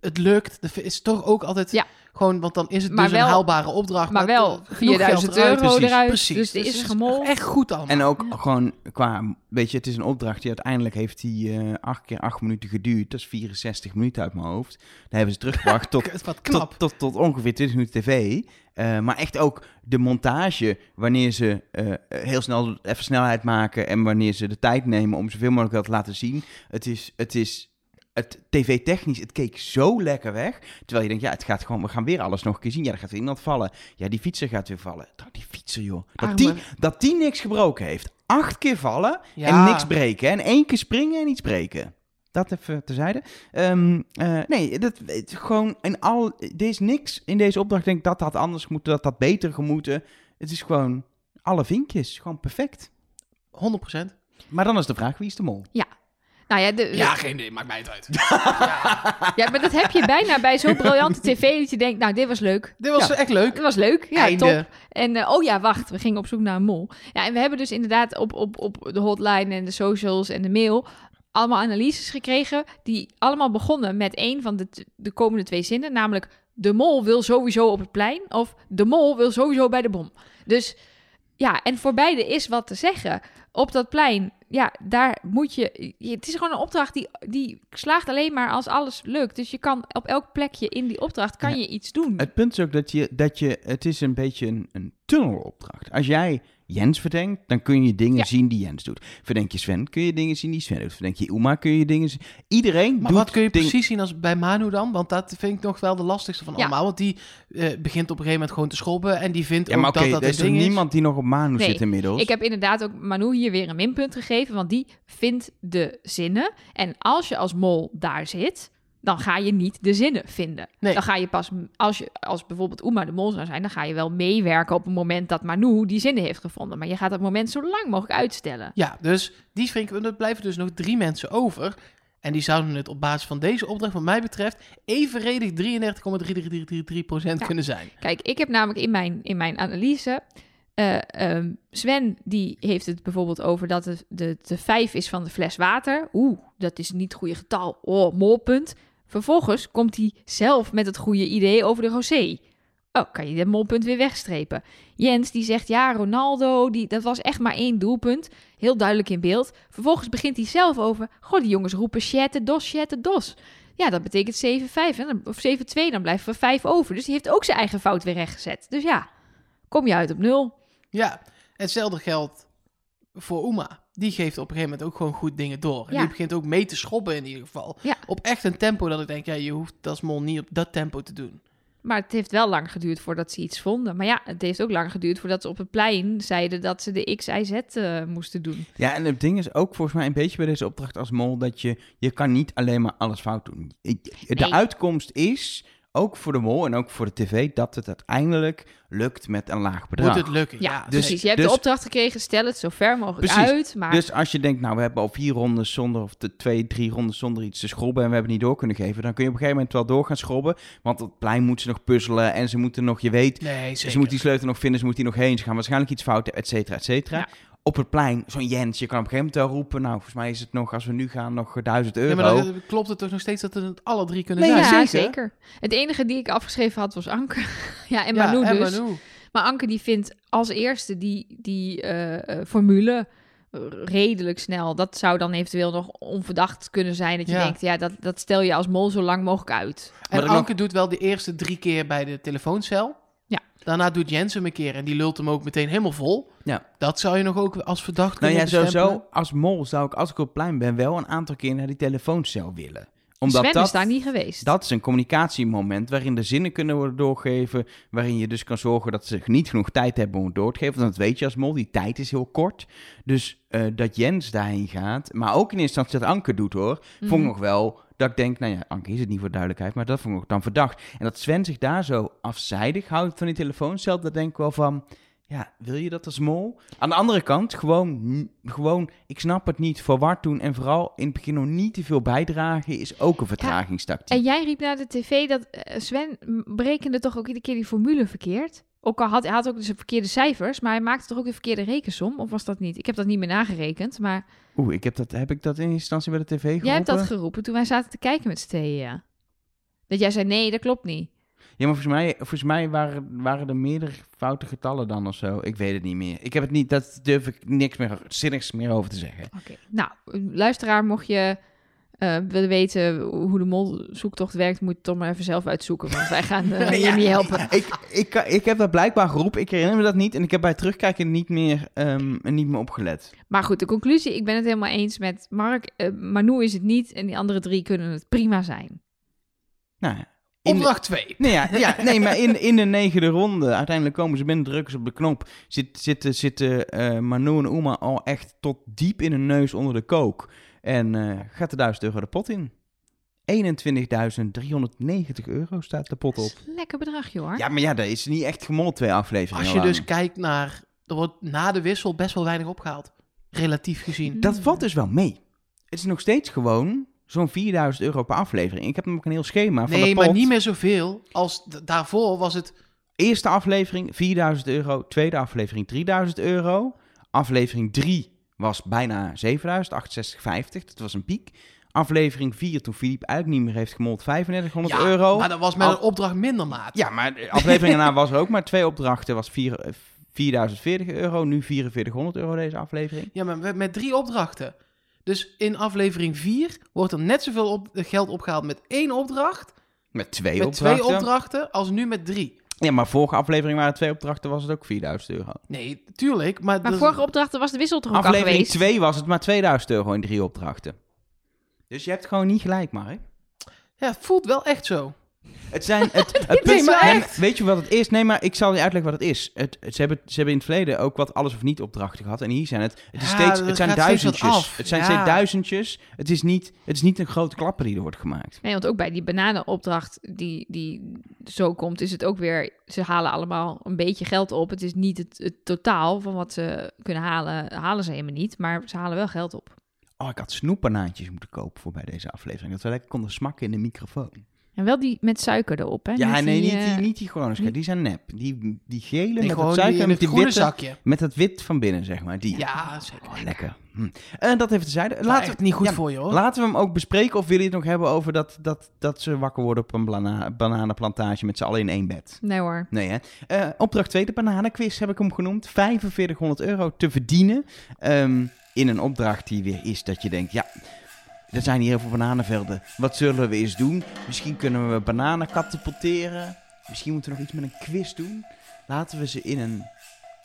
C: Het lukt. Het is toch ook altijd
A: Ja.
C: gewoon, want dan is het
A: Maar
C: dus
A: wel-
C: een haalbare opdracht. eh,
A: Maar wel
C: genoeg geld
A: 4000
C: eruit.
A: euro eruit.
B: precies,
C: Precies.
A: Dus er
C: het
A: is gemol.
C: Echt goed allemaal.
B: En ook
A: Ja.
B: gewoon qua... Weet je, het is een opdracht. Die uiteindelijk heeft die eh, acht keer acht minuten geduurd. Dat is 64 minuten uit mijn hoofd. Daar hebben ze teruggebracht tot,
C: Kut, wat knap.
B: tot, tot, tot ongeveer 20 minuten tv. Eh, maar echt ook de montage. Wanneer ze eh, heel snel even snelheid maken. En wanneer ze de tijd nemen om zoveel mogelijk dat te laten zien. Het is... Het is het tv-technisch, het keek zo lekker weg. Terwijl je denkt, ja, het gaat gewoon, we gaan weer alles nog een keer zien. Ja, er gaat weer iemand vallen. Ja, die fietser gaat weer vallen. Nou, die fietser, joh.
A: Arme.
B: Dat die, dat die niks gebroken heeft. Acht keer vallen en
C: Ja.
B: niks breken. hè. En één keer springen en iets breken. Dat even terzijde. Ehm eh, nee, dat, het, gewoon in al... Er is niks in deze opdracht. Denk ik, dat had anders moeten, dat had beter gemoeten. Het is gewoon alle vinkjes. Gewoon perfect.
C: 100%.
B: Maar dan is de vraag, wie is de mol?
A: Nou ja, de,
C: Ja, geen idee. Maakt mij het uit.
A: ja, maar dat heb je bijna bij zo'n briljante tv dat je denkt, nou, dit was leuk.
C: Dit was
B: Ja.
C: echt leuk.
A: Dit was leuk. Ja,
C: Einde.
A: top. En eh, oh ja, wacht, we gingen op zoek naar een mol. Ja, en we hebben dus inderdaad op, op, op de hotline en de socials en de mail allemaal analyses gekregen die allemaal begonnen met één van de, t- de komende twee zinnen, namelijk de mol wil sowieso op het plein of de mol wil sowieso bij de bom. Dus ja, en voor beide is wat te zeggen. Op dat plein, ja, daar moet je... je- Het is gewoon een opdracht die, die slaagt alleen maar als alles lukt. Dus je kan op elk plekje in die opdracht kan
B: Ja.
A: je iets doen.
B: Het punt is ook dat je, dat je het is een beetje een, een tunnelopdracht. Als jij Jens verdenkt, dan kun je dingen
A: Ja.
B: zien die Jens doet. Verdenk je Sven, kun je dingen zien die Sven doet. Verdenk je Uma, kun je dingen zien. Iedereen
C: Maar
B: doet
C: wat kun je
B: dingen-
C: precies zien als bij Manu dan? Want dat vind ik nog wel de lastigste van
A: Ja.
C: allemaal. Want die eh, begint op een gegeven moment gewoon te schobben. En die vindt
B: Ja, maar
C: ook
B: oké,
C: dat
B: er
C: dat
B: is
C: het
B: toch
C: ding is.
B: niemand die nog op Manu
A: Nee,
B: zit inmiddels?
A: Ik heb inderdaad ook Manu hier weer een minpunt gegeven, want die vindt de zinnen. En als je als mol daar zit, dan ga je niet de zinnen vinden.
C: Nee.
A: Dan ga je pas, als, je, als bijvoorbeeld Uma de mol zou zijn, dan ga je wel meewerken op het moment dat Manu die zinnen heeft gevonden. Maar je gaat dat moment zo lang mogelijk uitstellen.
C: Ja, dus die vind ik, er blijven dus nog drie mensen over. En die zouden het op basis van deze opdracht, wat mij betreft, evenredig 33,3333%
A: Ja.
C: kunnen zijn.
A: Kijk, ik heb namelijk in mijn, in mijn analyse. eh, ehm, Sven die heeft het bijvoorbeeld over dat het de, de vijf is van de fles water. Oeh, dat is niet het goede getal. Oh, molpunt. Vervolgens komt hij zelf met het goede idee over de rosé. Oh, kan je dat molpunt weer wegstrepen? Jens die zegt ja, Ronaldo, die, dat was echt maar één doelpunt. Heel duidelijk in beeld. Vervolgens begint hij zelf over. Goh, die jongens roepen shette dos, shette dos. Ja, dat betekent 7-5 hè, dan- of 7-2, dan blijven we 5 over. Dus die heeft ook zijn eigen fout weer rechtgezet. Dus ja, kom je uit op nul.
C: Ja, hetzelfde geldt voor Uma. Die geeft op een gegeven moment ook gewoon goed dingen door. En
A: Ja.
C: die begint ook mee te schobben in ieder geval.
A: Ja.
C: Op echt een tempo dat ik denk, ja, je hoeft dat mol niet op dat tempo te doen.
A: Maar het heeft wel lang geduurd voordat ze iets vonden. Maar ja, het heeft ook lang geduurd voordat ze op het plein zeiden dat ze de X, Y, Z eh, moesten doen.
B: Ja, en het ding is ook volgens mij een beetje bij deze opdracht als mol dat je, je kan niet alleen maar alles fout doen. Ik- De
A: Nee.
B: uitkomst is, ook voor de mol en ook voor de tv, dat het uiteindelijk lukt met een laag bedrag.
C: Moet het lukken?
A: Ja,
C: Ja,
B: dus-
A: precies. Je hebt
B: dus-
A: de opdracht gekregen, stel het zo ver mogelijk
B: Precies.
A: uit. Maar
B: Dus als je denkt, nou, we hebben al vier rondes zonder, of de twee, drie rondes zonder iets te schrobben en we hebben niet door kunnen geven, dan kun je op een gegeven moment wel door gaan schrobben, want op het plein moet ze nog puzzelen en ze moeten nog, dus je weet,
C: Nee, zeker.
B: ze moet die sleutel nog vinden, ze moet die nog heen, ze gaan waarschijnlijk iets fouten, et cetera, et cetera.
A: Ja.
B: Op het plein, zo'n Jens, je kan op een gegeven moment wel roepen, nou, volgens mij is het nog, als we nu gaan, nog eh, 1000 euro.
C: Nee, maar dan eh, klopt het toch nog steeds dat het alle drie kunnen
B: Nee,
C: zijn?
A: ja,
B: zeker.
A: zeker. Het enige die ik afgeschreven had was Anke. ja, en
C: Ja,
A: Manu
C: en
A: dus.
C: Manu.
A: Maar Anke die vindt als eerste die, die eh, eh, formule redelijk snel. Dat zou dan eventueel nog onverdacht kunnen zijn. Dat je
C: Ja.
A: denkt, ja, dat, dat stel je als mol zo lang mogelijk uit.
B: Maar
C: En
B: dan
C: Anke doet wel de eerste drie keer bij de telefooncel.
A: Ja.
C: Daarna doet Jens hem een keer en die lult hem ook meteen helemaal vol.
B: Ja.
C: Dat zou je nog ook als verdacht
B: Nou
C: kunnen
B: ja,
C: bestempelen.
B: sowieso, als mol zou ik, als ik op het plein ben, wel een aantal keer naar die telefooncel willen. Omdat
A: Sven
B: dat,
A: is daar niet geweest.
B: Dat is een communicatiemoment waarin de zinnen kunnen worden doorgegeven. Waarin je dus kan zorgen dat ze niet genoeg tijd hebben om het door te geven. Want dat weet je als mol, die tijd is heel kort. Dus eh, dat Jens daarheen gaat, maar ook in eerste instantie dat Anke doet hoor. Vond ik
A: Mhm.
B: nog wel dat ik denk, nou ja, Anke is het niet voor duidelijkheid, maar dat vond ik nog dan verdacht. En dat Sven zich daar zo afzijdig houdt van die telefooncel, dat denk ik wel van... Ja, wil je dat als mol? Aan de andere kant, gewoon, n- gewoon ik snap het niet, verward doen en vooral in het begin nog niet te veel bijdragen is ook een vertragingstactiek.
A: En jij riep naar de tv dat eh, Sven m, berekende toch ook iedere keer die formule verkeerd. Ook al had hij had ook dus de verkeerde cijfers, maar hij maakte toch ook de verkeerde rekensom? Of was dat niet? Ik heb dat niet meer nagerekend, maar
B: Oeh, ik heb, dat, heb ik dat in eerste instantie bij de tv geroepen?
A: jij hebt dat geroepen toen wij zaten te kijken met z'n tweeën, ja. Dat jij zei, nee, dat klopt niet.
B: Ja, maar volgens mij, volgens mij waren, waren er meerdere foute getallen dan of zo. Ik weet het niet meer. Ik heb het niet, dat durf ik niks meer, zinnigs meer over te zeggen.
A: Oké. Nou, luisteraar, mocht je eh, willen weten hoe de molzoektocht werkt, moet je het toch maar even zelf uitzoeken, want wij gaan eh,
B: Nee,
A: je
B: ja,
A: niet helpen.
B: Ik, ik, kan- ik heb dat blijkbaar geroepen, ik herinner me dat niet. En ik heb bij het terugkijken niet meer, ehm, niet meer opgelet.
A: Maar goed, de conclusie, ik ben het helemaal eens met Mark. Eh, Manu is het niet en die andere drie kunnen het prima zijn.
B: Nou, ja. in de-
C: Opdracht 2.
B: Nee, ja, ja, nee, maar in, in de negende ronde, uiteindelijk komen ze binnen, drukken ze op de knop. Zit, zitten zitten eh Manu en Uma al echt tot diep in hun neus onder de kook. En eh, gaat de 1000 euro de pot in. 21.390 euro staat de pot
A: Dat
B: op.
A: is een lekker bedragje hoor.
B: Ja, maar ja, dat is niet echt gemold twee afleveringen
C: Als je
B: lang.
C: dus kijkt naar... Er wordt na de wissel best wel weinig opgehaald. Relatief gezien.
B: Dat valt dus wel mee. Het is nog steeds gewoon zo'n 4.000 euro per aflevering. Ik heb hem ook een heel schema van de
C: nee,
B: pot.
C: maar niet meer zoveel. Als d- daarvoor was het...
B: Eerste aflevering 4000 euro, tweede aflevering 3000 euro. Aflevering 3 was bijna 7000, 6850, dat was een piek. Aflevering 4, toen Filip eigenlijk niet meer heeft gemold, 3500
C: ja,
B: euro.
C: Maar dat was met
B: Al-
C: een opdracht minder maat.
B: Ja, maar de aflevering daarna was er ook maar twee opdrachten, was vier- eh, 4040 euro, nu 4400 euro deze aflevering.
C: Ja, maar met- met drie opdrachten. Dus in aflevering 4 wordt er net zoveel op, geld opgehaald met één opdracht.
B: Met twee
C: met
B: opdrachten.
C: twee opdrachten als nu met drie.
B: Ja, maar vorige aflevering waren het twee opdrachten, was het ook 4000 euro.
C: Nee, tuurlijk. Maar,
A: Maar
C: dat-
A: vorige opdrachten was de wissel toch ook al
B: aflevering
A: geweest?
B: 2 was het maar 2000 euro in drie opdrachten. Dus je hebt gewoon niet gelijk, Mark.
C: Ja, het voelt wel echt zo.
B: Het zijn. Het, het
C: is wel
B: Nee,
C: echt.
B: Weet je wat het is? Nee, maar ik zal je uitleggen wat het is. Het, het- ze, hebben, ze hebben in het verleden ook wat alles of niet opdrachten gehad. En hier zijn het. Het, is
C: Ja,
B: steeds,
C: er
B: het zijn
C: gaat steeds wat
B: duizendjes.
C: af.
B: Het zijn
C: Ja.
B: steeds duizendjes. Het is, niet, het is niet een grote klapper die er wordt gemaakt.
A: Nee, want ook bij die bananenopdracht die, die zo komt, is het ook weer... Ze halen allemaal een beetje geld op. Het is niet het, het totaal van wat ze kunnen halen. Halen ze helemaal niet, maar ze halen wel geld op.
B: Oh, ik had snoeppanaantjes moeten kopen voor bij deze aflevering. Dat we lekker konden smakken in de microfoon.
A: En wel die met suiker erop, hè?
B: ja,
A: Met
B: nee,
A: die,
B: niet die,
A: eh,
B: niet die gewone schuim. Die zijn nep. Die, die gele
C: Nee,
B: met
C: gewoon
B: het
C: die eh,
B: suiker
C: in
B: en
C: het
B: met die
C: groene
B: witte-
C: zakje.
B: Met het wit van binnen, zeg maar. Die.
C: Ja, zeker.
B: Oh, lekker. Hm. Eh, dat even tezijde.
C: Laat
B: Laten we
C: het niet goed
B: ja,
C: voor je
A: Oh.
C: hoor.
B: Laten we hem ook bespreken of wil je het nog hebben over dat, dat, dat ze wakker worden op een blana- bananenplantage met z'n allen in één bed?
A: Nee hoor.
B: Nee, hè? Eh, opdracht 2, de bananenquiz heb ik hem genoemd. 4500 euro te verdienen ehm, in een opdracht die weer is dat je denkt, ja, er zijn hier heel veel bananenvelden. Wat zullen we eens doen? Misschien kunnen we bananen katapulteren. Misschien moeten we nog iets met een quiz doen. Laten we ze in een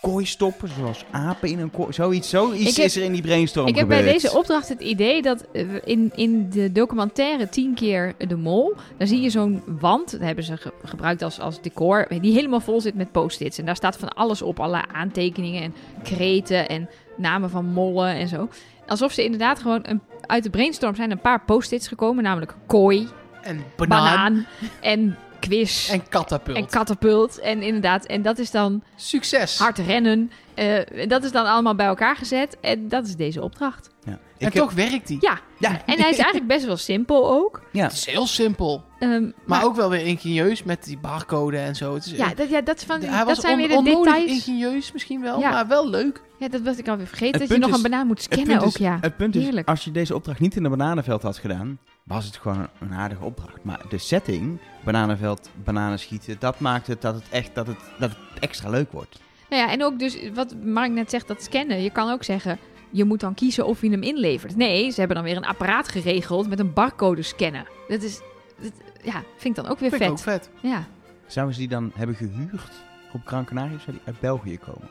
B: kooi stoppen, zoals apen in een kooi. Zoiets, zoiets
A: Ik heb-
B: is er in die brainstorm
A: Ik heb bij
B: gebeurd.
A: deze opdracht het idee dat eh, we in, in de documentaire 10 keer de mol, daar zie je zo'n wand, dat hebben ze ge- gebruikt als, als decor, die helemaal vol zit met post-its. En daar staat van alles op, alle aantekeningen en kreten en namen van mollen en zo. Alsof ze inderdaad gewoon een, uit de brainstorm zijn een paar post-its gekomen, namelijk kooi,
C: En
A: banaan,
C: banaan.
A: en quiz.
C: En katapult.
A: En katapult. En inderdaad, en dat is dan
C: Succes.
A: hard rennen. Eh, dat is dan allemaal bij elkaar gezet. En dat is deze opdracht.
B: Ja. Ik
C: En
B: heb-
C: toch werkt die.
A: Ja,
B: Ja.
A: en hij is eigenlijk best wel simpel ook.
B: ja.
C: Het is heel simpel.
A: Ehm,
C: Maar, ook wel weer ingenieus met die barcode en zo. Het is,
A: ja, dat, ja, dat, is van,
C: hij
A: dat
C: was
A: zijn
C: on-
A: weer de
C: onnodig
A: details.
C: ingenieus misschien wel,
A: Ja.
C: maar wel leuk.
A: Ja, dat was ik alweer
B: Het
A: vergeten. Dat je
B: punt
A: nog
B: is-
A: een banaan moet
B: Het
A: scannen ook,
B: punt is,
A: ja.
B: Het punt is,
A: Heerlijk.
B: als je deze opdracht niet in een bananenveld had gedaan, was het gewoon een- een aardige opdracht. Maar de setting, bananenveld, bananen schieten, dat maakt het dat het echt dat het, dat het extra leuk wordt.
A: Nou ja, en ook dus wat Mark net zegt, dat scannen. Je kan ook zeggen, je moet dan kiezen of je hem inlevert. Nee, ze hebben dan weer een apparaat geregeld met een barcode scannen. Dat is, dat- ja, vind ik dan ook weer
C: Vind ik
A: vet.
C: ook vet.
A: Ja,
B: Zouden ze die dan hebben gehuurd op Gran Canaria? Zou die uit België komen?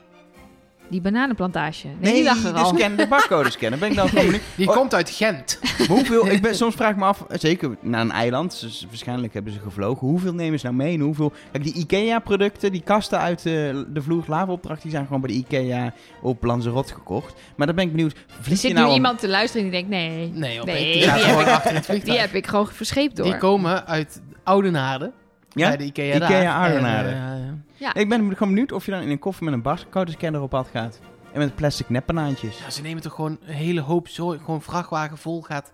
A: die bananenplantage. Nee, dus die lag er
B: de,
A: al.
B: dus scan, de barcode scannen. Ben ik dan gewoon
C: Die
B: Oh.
C: komt uit Gent.
B: Maar Hoeveel, ik ben, soms vraag ik me af, zeker naar een eiland, dus waarschijnlijk hebben ze gevlogen. Hoeveel nemen ze nou mee en hoeveel... Kijk, die IKEA-producten, die kasten uit de, de vloer lavenopdracht, die zijn gewoon bij de IKEA op Lanzarote gekocht. Maar dan ben ik benieuwd,
A: Er
B: vlieg je
A: zit
B: nou...
A: nu
B: om-
A: iemand te luisteren die denkt, nee,
C: Nee, op
A: Nee,
C: nee,
A: die
C: die zaten
A: heb
C: gewoon
A: ik-
C: achter het vliegtuig.
A: die heb ik gewoon verscheept door.
C: Die komen uit Oudenaarde, bij
B: Ja?
C: de Ikea daar.
B: Ikea Oudenaarde.
C: En, eh,
B: Ik ben gewoon benieuwd of je dan in een koffer met een barcode-scanner op pad gaat. En met plastic neppanaantjes.
C: ja, ze nemen toch gewoon een hele hoop zooi, gewoon vrachtwagen vol gaat.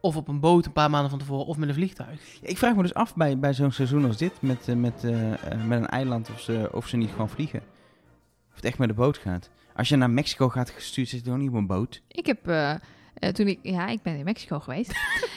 C: Of op een boot een paar maanden van tevoren, of met een vliegtuig.
B: Ik vraag me dus af bij, bij zo'n seizoen als dit, met, eh, met, eh, eh, met een eiland, of ze, of ze niet gewoon vliegen. Of het echt met de boot gaat. Als je naar Mexico gaat gestuurd, zit je toch niet op een boot?
A: Ik heb eh, eh, toen ik, ja, ik ben in Mexico geweest.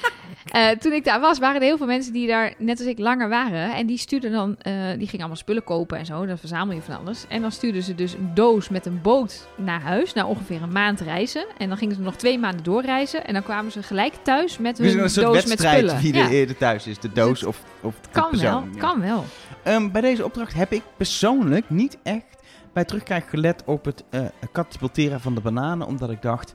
A: Eh, toen ik daar was, waren er heel veel mensen die daar net als ik langer waren. En die stuurden dan, eh, die gingen allemaal spullen kopen en zo. Dan verzamel je van alles. En dan stuurden ze dus een doos met een boot naar huis. Na ongeveer een maand reizen. En dan gingen ze nog twee maanden doorreizen. En dan kwamen ze gelijk thuis met
B: Dus
A: hun
B: een
A: doos
B: soort
A: met
B: wedstrijd
A: spullen.
B: wie er
A: ja, Dus
B: eerder thuis is. De doos
A: het
B: of, of de
A: kan wel,
B: persoon. Ja.
A: kan wel.
B: Ehm, bij deze opdracht heb ik persoonlijk niet echt bij terugkijk gelet op het eh katapulteren van de bananen. Omdat ik dacht,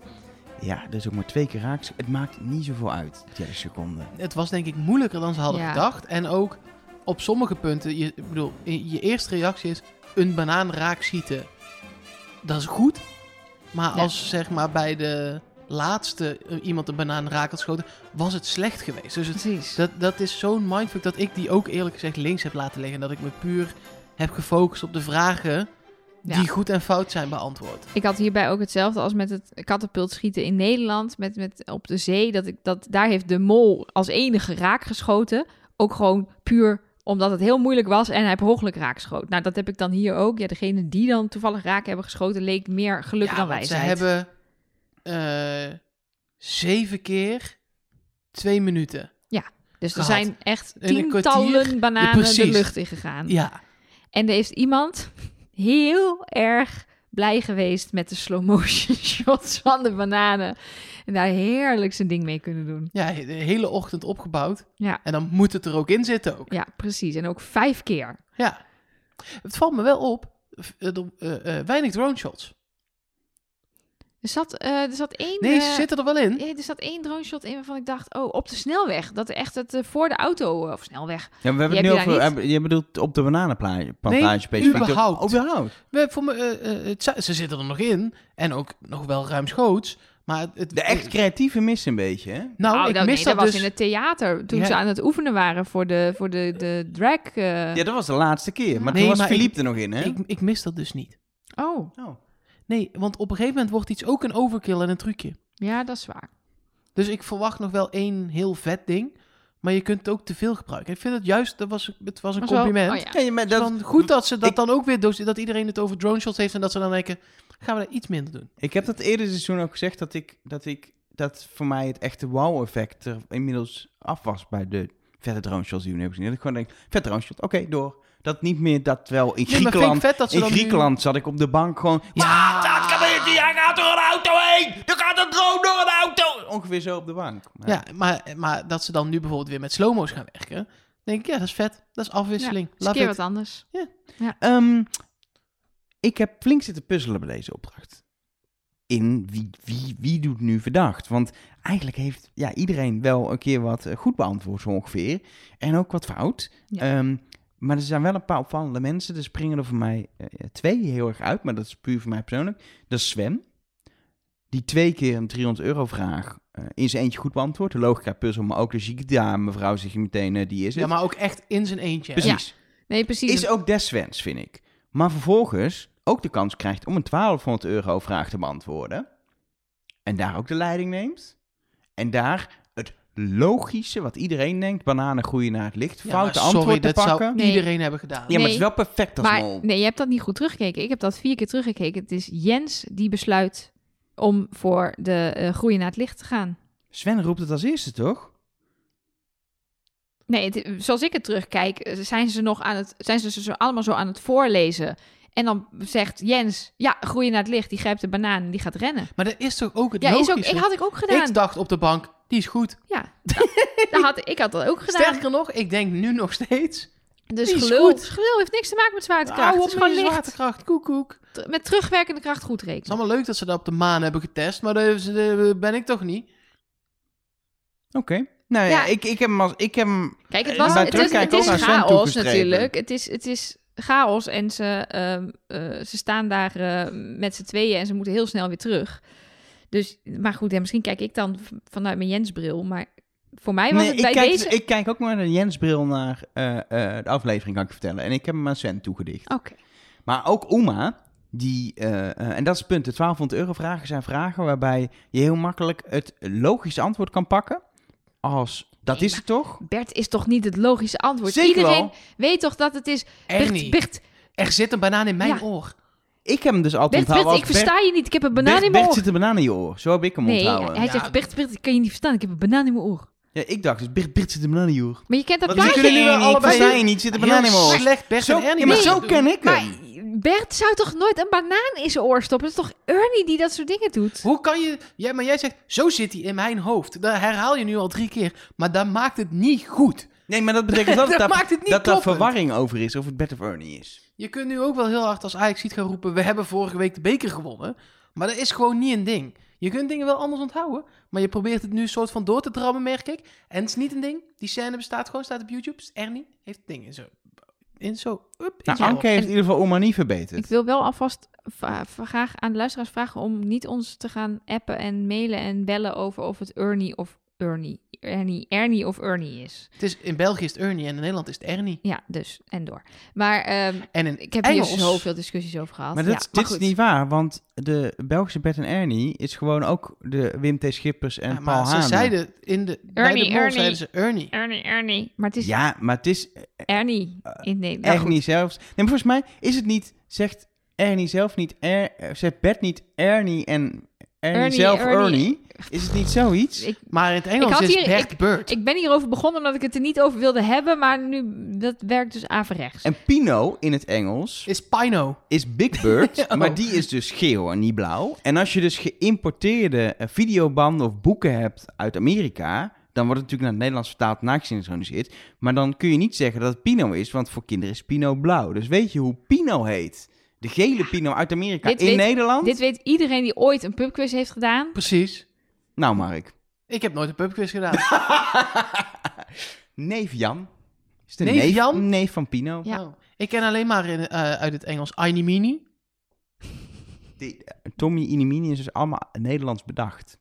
B: ja, dat is ook maar twee keer raak. Het maakt niet zoveel uit, 30 seconden.
C: Het was denk ik moeilijker dan ze hadden
A: Ja.
C: gedacht. En ook op sommige punten, je, ik bedoel, je je eerste reactie is een banaan raak schieten. Dat is goed. Maar
A: Ja.
C: als zeg maar bij de laatste eh, iemand een banaan raak had geschoten, was het slecht geweest. Dus het
A: Precies.
C: Dat, dat is zo'n mindfuck dat ik die ook eerlijk gezegd links heb laten liggen. Dat ik me puur heb gefocust op de vragen
A: Ja.
C: die goed en fout zijn beantwoord.
A: Ik had hierbij ook hetzelfde als met het katapultschieten in Nederland, met, met op de zee. Dat ik, dat, daar heeft de mol als enige raak geschoten. Ook gewoon puur omdat het heel moeilijk was en hij per ongeluk raak schoot. Nou, dat heb ik dan hier ook. Ja, degene die dan toevallig raak hebben geschoten, leek meer geluk
C: Ja,
A: dan
C: want
A: wijsheid.
C: Ze hebben eh, zeven keer twee minuten.
A: dus er
C: gehad.
A: zijn echt
C: In een
A: tientallen
C: kwartier-
A: bananen
C: Ja, precies.
A: de lucht in gegaan.
C: Ja,
A: En er is iemand heel erg blij geweest met de slow motion shots van de bananen. En daar heerlijk zijn ding mee kunnen doen.
C: ja de hele ochtend opgebouwd.
A: Ja.
C: En dan moet het er ook in zitten ook.
A: Ja, precies. En ook vijf keer.
C: Ja. Het valt me wel op, f- eh, er- eh, eh, weinig drone shots.
A: Er zat, eh, er zat één...
C: Nee, ze
A: eh,
C: zitten er wel in.
A: eh, er zat één drone shot in waarvan ik dacht, oh, op de snelweg. Dat er echt het eh, voor de auto, eh, of snelweg.
B: Ja, maar we hebben
A: Die
B: het nu
A: heb je
B: over,
A: daar
B: hebben- je bedoelt op de bananenplantage
C: Nee,
B: specifiek.
C: überhaupt.
B: Oh, überhaupt.
C: We, voor me, eh, eh, het za- ze zitten er nog in. En ook nog wel ruimschoots. Maar het, het-
B: De echt creatieve missen een beetje, hè?
C: Nou,
A: Oh,
C: ik
A: dat-
C: mis
A: nee,
C: dat,
A: was
C: dus.
A: in het theater toen
C: Ja.
A: ze aan het oefenen waren voor de, voor de, de drag. eh.
B: Ja, dat was de laatste keer. Maar
C: Nee,
B: toen was
C: maar
B: Philippe er nog in, hè?
C: Ik, ik mis dat dus niet.
A: Oh,
B: Oh.
C: Nee, want op een gegeven moment wordt iets ook een overkill en een trucje.
A: ja, dat is waar.
C: Dus ik verwacht nog wel één heel vet ding. Maar je kunt het ook te veel gebruiken. Ik vind het juist, dat was, het was een
A: Maar zo-
C: compliment.
A: oh, ja.
B: Ja, maar dat,
C: dan goed dat ze dat
B: ik-
C: dan ook weer, dus dat iedereen het over drone shots heeft en dat ze dan denken, gaan we daar iets minder doen.
B: Ik heb dat eerder seizoen ook gezegd dat ik dat ik dat voor mij het echte wow-effect er inmiddels af was bij de vette drone shots die we nu hebben gezien. Dat ik gewoon denk, vet drone shot, oké, door. Dat niet meer dat wel in
C: Nee, maar vind ik
B: Griekenland.
C: vet dat ze
B: in
C: dan nu-
B: Griekenland zat ik op de bank gewoon.
C: Ja.
B: "Wat? Dat gebeurt hier, hij gaat door een auto heen! Er gaat een drone door een auto! Ongeveer zo op de bank. Maar-
C: Ja, maar, maar dat ze dan nu bijvoorbeeld weer met slow-mo's gaan werken. Dan denk ik, ja, dat is vet. Dat is
A: Ja,
C: afwisseling.
A: is een
C: Laat
A: keer
C: het.
A: wat anders.
B: Ehm, Ik heb flink zitten puzzelen bij deze opdracht. In wie, wie, wie doet nu verdacht? Want eigenlijk heeft ja, iedereen wel een keer wat eh, goed beantwoord, zo ongeveer. En ook wat fout.
A: Ja.
B: Ehm, maar er zijn wel een paar opvallende mensen. Er springen er voor mij eh, twee heel erg uit, maar dat is puur voor mij persoonlijk. Dat is Sven, die twee keer een 300 euro vraag eh, in zijn eentje goed beantwoordt. De logica puzzel, maar ook de zieke ja, mevrouw zegt meteen, eh, die is het.
C: Ja, maar ook echt in zijn eentje.
A: Ja.
B: Precies.
A: Nee, precies.
B: Is ook des Svens, vind ik. Maar vervolgens ook de kans krijgt om een 1200 euro vraag te beantwoorden. En daar ook de leiding neemt. En daar het logische, wat iedereen denkt, bananen groeien naar het licht,
C: Ja,
B: foute
C: maar sorry,
B: antwoord te
C: dat
B: pakken.
C: zou
A: Nee.
C: iedereen hebben gedaan.
B: Ja, maar het is
A: Nee.
B: wel perfect als
A: maar
B: mol.
A: nee, je hebt dat niet goed teruggekeken. Ik heb dat vier keer teruggekeken. Het is Jens die besluit om voor de eh groei naar het licht te gaan.
B: Sven roept het als eerste, toch?
A: Nee, het- zoals ik het terugkijk, eh, zijn ze nog aan het, zijn ze ze zo allemaal zo aan het voorlezen. En dan zegt Jens, ja, groei naar het licht. Die grijpt de banaan en die gaat rennen.
C: Maar dat is toch ook het
A: Ja, is
C: logische?
A: ook, ik had ik ook gedaan.
C: Ik dacht op de bank, die is goed.
A: ja, dat had, ik had dat ook gedaan.
C: Sterker nog, ik denk nu nog steeds...
A: dus
C: die is
A: gelul,
C: goed.
A: gelul heeft niks te maken met zwaartekracht.
C: Hou
A: Het
C: op
A: is gewoon
C: met je
A: licht.
C: zwaartekracht, koekoek. Het
A: Ter- Met terugwerkende kracht goed
C: is
A: rekenen.
C: allemaal leuk dat ze dat op de maan hebben getest, maar dat is- dat ben ik toch niet?
B: Oké. Nou ja,
A: Ja.
B: Ik, ik heb hem als... Ik heb hem...
A: Kijk, het,
B: Eh,
A: was,
B: maar
A: het, is, het
B: terugkijken
A: is
B: ook aan Sven
A: chaos
B: toegestreven.
A: natuurlijk. Het is, het is chaos en ze, ehm, eh, ze staan daar eh, met z'n tweeën en ze moeten heel snel weer terug. Dus, maar goed, ja, misschien kijk ik dan v- vanuit mijn Jens-bril. Maar voor mij was
B: Nee,
A: het
B: ik,
A: bij
B: kijk,
A: deze...
B: ik kijk ook maar naar Jens Bril naar eh, eh, de aflevering, kan ik je vertellen. En ik heb hem aan Sven toegedicht.
A: Oké.
B: Maar ook Oma, die, eh, eh, en dat is het punt, de 1200 euro vragen zijn vragen waarbij je heel makkelijk het logische antwoord kan pakken. Als, dat
A: Nee,
B: is het toch?
A: Bert is toch niet het logische antwoord?
B: Zeker
A: Iedereen
B: wel.
A: weet toch dat het is...
C: Echt
A: Bert,
C: niet.
A: Bert,
C: Er zit een banaan in mijn
A: Ja.
C: oor.
B: Ik heb hem dus altijd
A: Bert, Bert,
B: onthouden
A: ik
B: als
A: versta je niet. Ik heb een banaan
B: Bert,
A: in mijn
B: Bert
A: oor.
B: zit een banaan in je oor. Zo heb ik hem
A: Nee,
B: onthouden.
A: hij
C: Ja,
A: zegt, Bert, Bert, ik kan je niet verstaan. Ik heb een banaan in mijn oor.
B: Ja, ik dacht dus, Bert, Bert zit een banaan in je oor.
A: Maar je kent dat
B: Wat is
A: plaatje.
C: kunnen
B: jullie
C: jullie
B: wel
C: allebei-
B: allebei? Versta je niet, zit een banaan in mijn
C: Heel
B: oor.
C: slecht Bert
B: Zo,
C: en Ernie.
B: ja, maar
C: moeten
B: zo
C: doen.
B: ken ik hem.
A: Maar Bert zou toch nooit een banaan in zijn oor stoppen? Het is toch Ernie die dat soort dingen doet?
C: Hoe kan je... Ja, maar jij zegt, zo zit hij in mijn hoofd. Dat herhaal je nu al drie keer. Maar dat maakt het niet goed.
B: Nee, maar dat betekent wel dat,
C: Dat
B: daar-
C: maakt het niet
B: dat daar
C: kloppend.
B: verwarring over is of het Bert of Ernie is.
C: Je kunt nu ook wel heel hard als Ajax ziet gaan roepen... we hebben vorige week de beker gewonnen. Maar dat is gewoon niet een ding. Je kunt dingen wel anders onthouden. Maar je probeert het nu een soort van door te drammen, merk ik. En het is niet een ding. Die scène bestaat gewoon, staat op YouTube. Dus Ernie heeft het ding in zo... In zo... Up, in
B: Nou,
C: zijn
B: Anke
C: oor.
B: heeft in ieder geval Oma niet verbeterd.
A: Ik wil wel alvast va- graag aan de luisteraars vragen om niet ons te gaan appen en mailen en bellen over of het Ernie of Ernie, Ernie, Ernie of Ernie is.
C: Het is, in België is het Ernie en in Nederland is het Ernie.
A: Ja, dus en door. Maar ehm,
C: En in
A: ik heb
C: Engels...
A: hier zoveel discussies over gehad.
B: Maar,
A: Ja,
B: dat, is- dit
A: goed.
B: is niet waar, want de Belgische Bert en Ernie is gewoon ook de Wim T. Schippers en
C: Ja,
B: Paul
C: Ah, maar ze
B: Haan.
C: zeiden in de bij
A: Ernie,
C: de mol
A: Ernie.
C: zeiden ze Ernie.
A: Ernie, Ernie. Maar het is
B: Ja, Eh, maar het is
A: Ernie in Nederland.
B: echt niet zelfs. Nee, maar volgens mij is het niet, zegt Ernie zelf niet, er, eh, zegt Bert niet Ernie en Ernie,
A: Ernie,
B: zelf Ernie.
A: Ernie.
B: Is het niet zoiets?
A: Ik,
C: Maar in het Engels
A: had
C: is
A: hier-
C: Bert Bird.
A: ik ben hierover begonnen omdat ik het er niet over wilde hebben, maar nu, dat werkt dus averechts.
B: En Pino in het Engels
C: is Pino.
B: is Big Bird,
C: Oh.
B: maar die is dus geel en niet blauw. En als je dus geïmporteerde eh, videobanden of boeken hebt uit Amerika, dan wordt het natuurlijk naar het Nederlands vertaald en nagesynchroniseerd. Maar dan kun je niet zeggen dat het Pino is, want voor kinderen is Pino blauw. Dus weet je hoe Pino heet? De gele Pino uit Amerika
A: Dit
B: in
A: weet-
B: Nederland?
A: Dit weet iedereen die ooit een pubquiz heeft gedaan.
C: Precies.
B: Nou, Mark.
C: Ik heb nooit een pubquiz gedaan.
B: Neef Jan. Is de
C: Neef Jan?
B: Neef van Pino.
A: Ja.
C: Oh. Ik ken alleen maar in, eh, uit het Engels Aini Mini.
B: Die, eh, Tommy Inimini is dus allemaal Nederlands bedacht.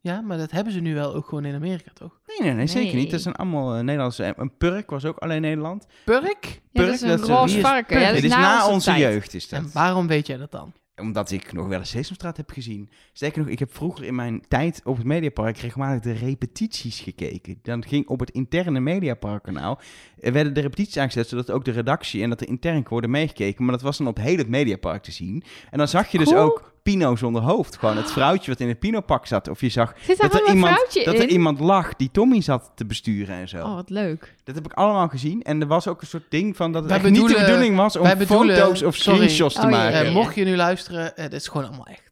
C: Ja, maar dat hebben ze nu wel ook gewoon in Amerika, toch?
B: Nee, nee, nee, zeker
A: Nee.
B: niet. Dat zijn allemaal eh, Nederlandse... en Een Purk was ook alleen Nederland.
C: Purk?
A: Ja,
B: Purk,
A: dat is een
B: dat is een-
A: roze
B: die is
A: varken. Ja, dat
B: Dit is na onze,
A: tijd.
B: jeugd, is dat.
C: En waarom weet jij dat dan?
B: Omdat ik nog wel eens Sesamstraat heb gezien. Sterker nog, ik heb vroeger in mijn tijd op het Mediapark regelmatig de repetities gekeken. Dan ging op het interne Mediaparkkanaal, eh, werden de repetities aangezet, zodat ook de redactie en dat de intern worden meegekeken. Maar dat was dan op heel het Mediapark te zien. En dan zag je dus
A: Cool.
B: ook Pino zonder hoofd. Gewoon het vrouwtje wat in het Pino-pak zat. Of je zag
A: Zit daar
B: dat er,
A: gewoon een
B: iemand,
A: vrouwtje
B: dat er
A: in?
B: iemand lag die Tommy zat te besturen en zo.
A: Oh, wat leuk.
B: Dat heb ik allemaal gezien. En er was ook een soort ding van dat het
C: Wij
B: echt niet de
C: bedoelen-
B: bedoeling was om
C: wij bedoelen-
B: foto's of
C: sorry.
B: screenshots te
A: Oh, ja, ja,
B: maken.
A: ja.
C: Eh, mocht je nu luisteren, eh, dit is gewoon allemaal echt.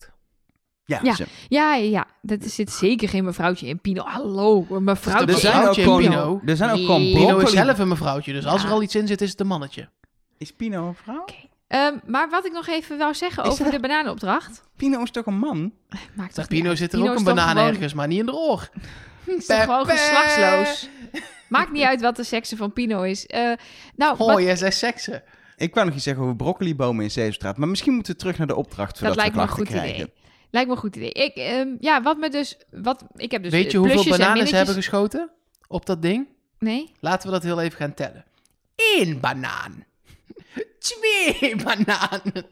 B: Ja,
A: Ja.
B: zo.
A: Ja, ja, ja. Dat is- zit zeker geen mevrouwtje in Pino. Hallo, een mevrouwtje.
B: Er
C: Dus de
B: zijn, ook
C: vrouwtje en
B: gewoon,
C: Pino.
B: er zijn ook gewoon
A: Nee.
B: broccoli.
C: Pino is zelf een mevrouwtje, dus als
A: Ja.
C: er al iets in zit, is het een mannetje.
B: Is Pino een vrouw?
A: Oké. Ehm, maar wat ik nog even wou zeggen
B: Is
A: over
B: er-
A: de bananenopdracht.
B: Pino is toch een man?
A: Maakt
C: Nou,
A: toch
C: Pino
A: niet uit.
C: zit er
A: Pino
C: ook
A: is
C: een
A: toch
C: banaan
A: gewoon- hm,
C: ergens, maar niet in de oor.
A: is toch gewoon
C: Pepe.
A: geslachtsloos. Maakt niet uit wat de sekse van Pino is. Eh, nou,
C: Oh,
A: wat-
C: jij zei seksen.
B: Ik kan nog iets zeggen over broccolibomen in Zeestraat. Maar misschien moeten we terug naar de opdracht.
A: dat
B: Zodat
A: lijkt
B: we
A: me een
B: klachten
A: goed
B: krijgen.
A: idee. Lijkt me een goed idee. Ik, ehm, ja, wat me dus... Wat, ik heb dus
C: Weet
A: eh,
C: je hoeveel
A: plusjes en
C: bananen ze
A: minnetjes-
C: hebben geschoten op dat ding?
A: Nee?
C: Laten we dat heel even gaan tellen. Eén banaan. Twee bananen.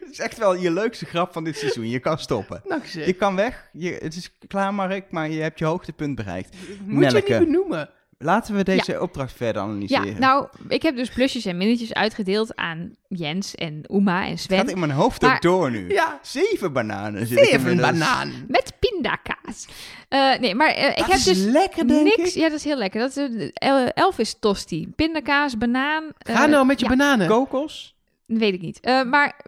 B: Het is echt wel je leukste grap van dit seizoen. Je kan stoppen.
C: Nou, zeg.
B: Je kan weg. Je, het is klaar, Mark, maar je hebt je hoogtepunt bereikt.
C: Moet je
B: Nelke.
C: niet benoemen.
B: Laten we deze opdracht verder analyseren.
A: Ja, nou, ik heb dus plusjes en minnetjes uitgedeeld aan Jens en Uma en
B: het
A: Sven.
B: gaat in mijn hoofd
A: maar-
B: ook door nu.
C: Ja,
B: Zeven bananen. zit ik
C: even
B: inmiddels.
C: banaan.
A: Met pindakaas. Eh, nee, maar eh, ik
B: Dat
A: heb
B: is
A: dus
B: lekker, denk
A: niks...
B: ik.
A: Ja, dat is heel lekker. Dat is, eh, El- Elvis tosti. Pindakaas, banaan.
C: Ga
A: eh,
C: nou met je
A: ja,
C: bananen.
B: Kokos?
A: Weet ik niet. Eh, maar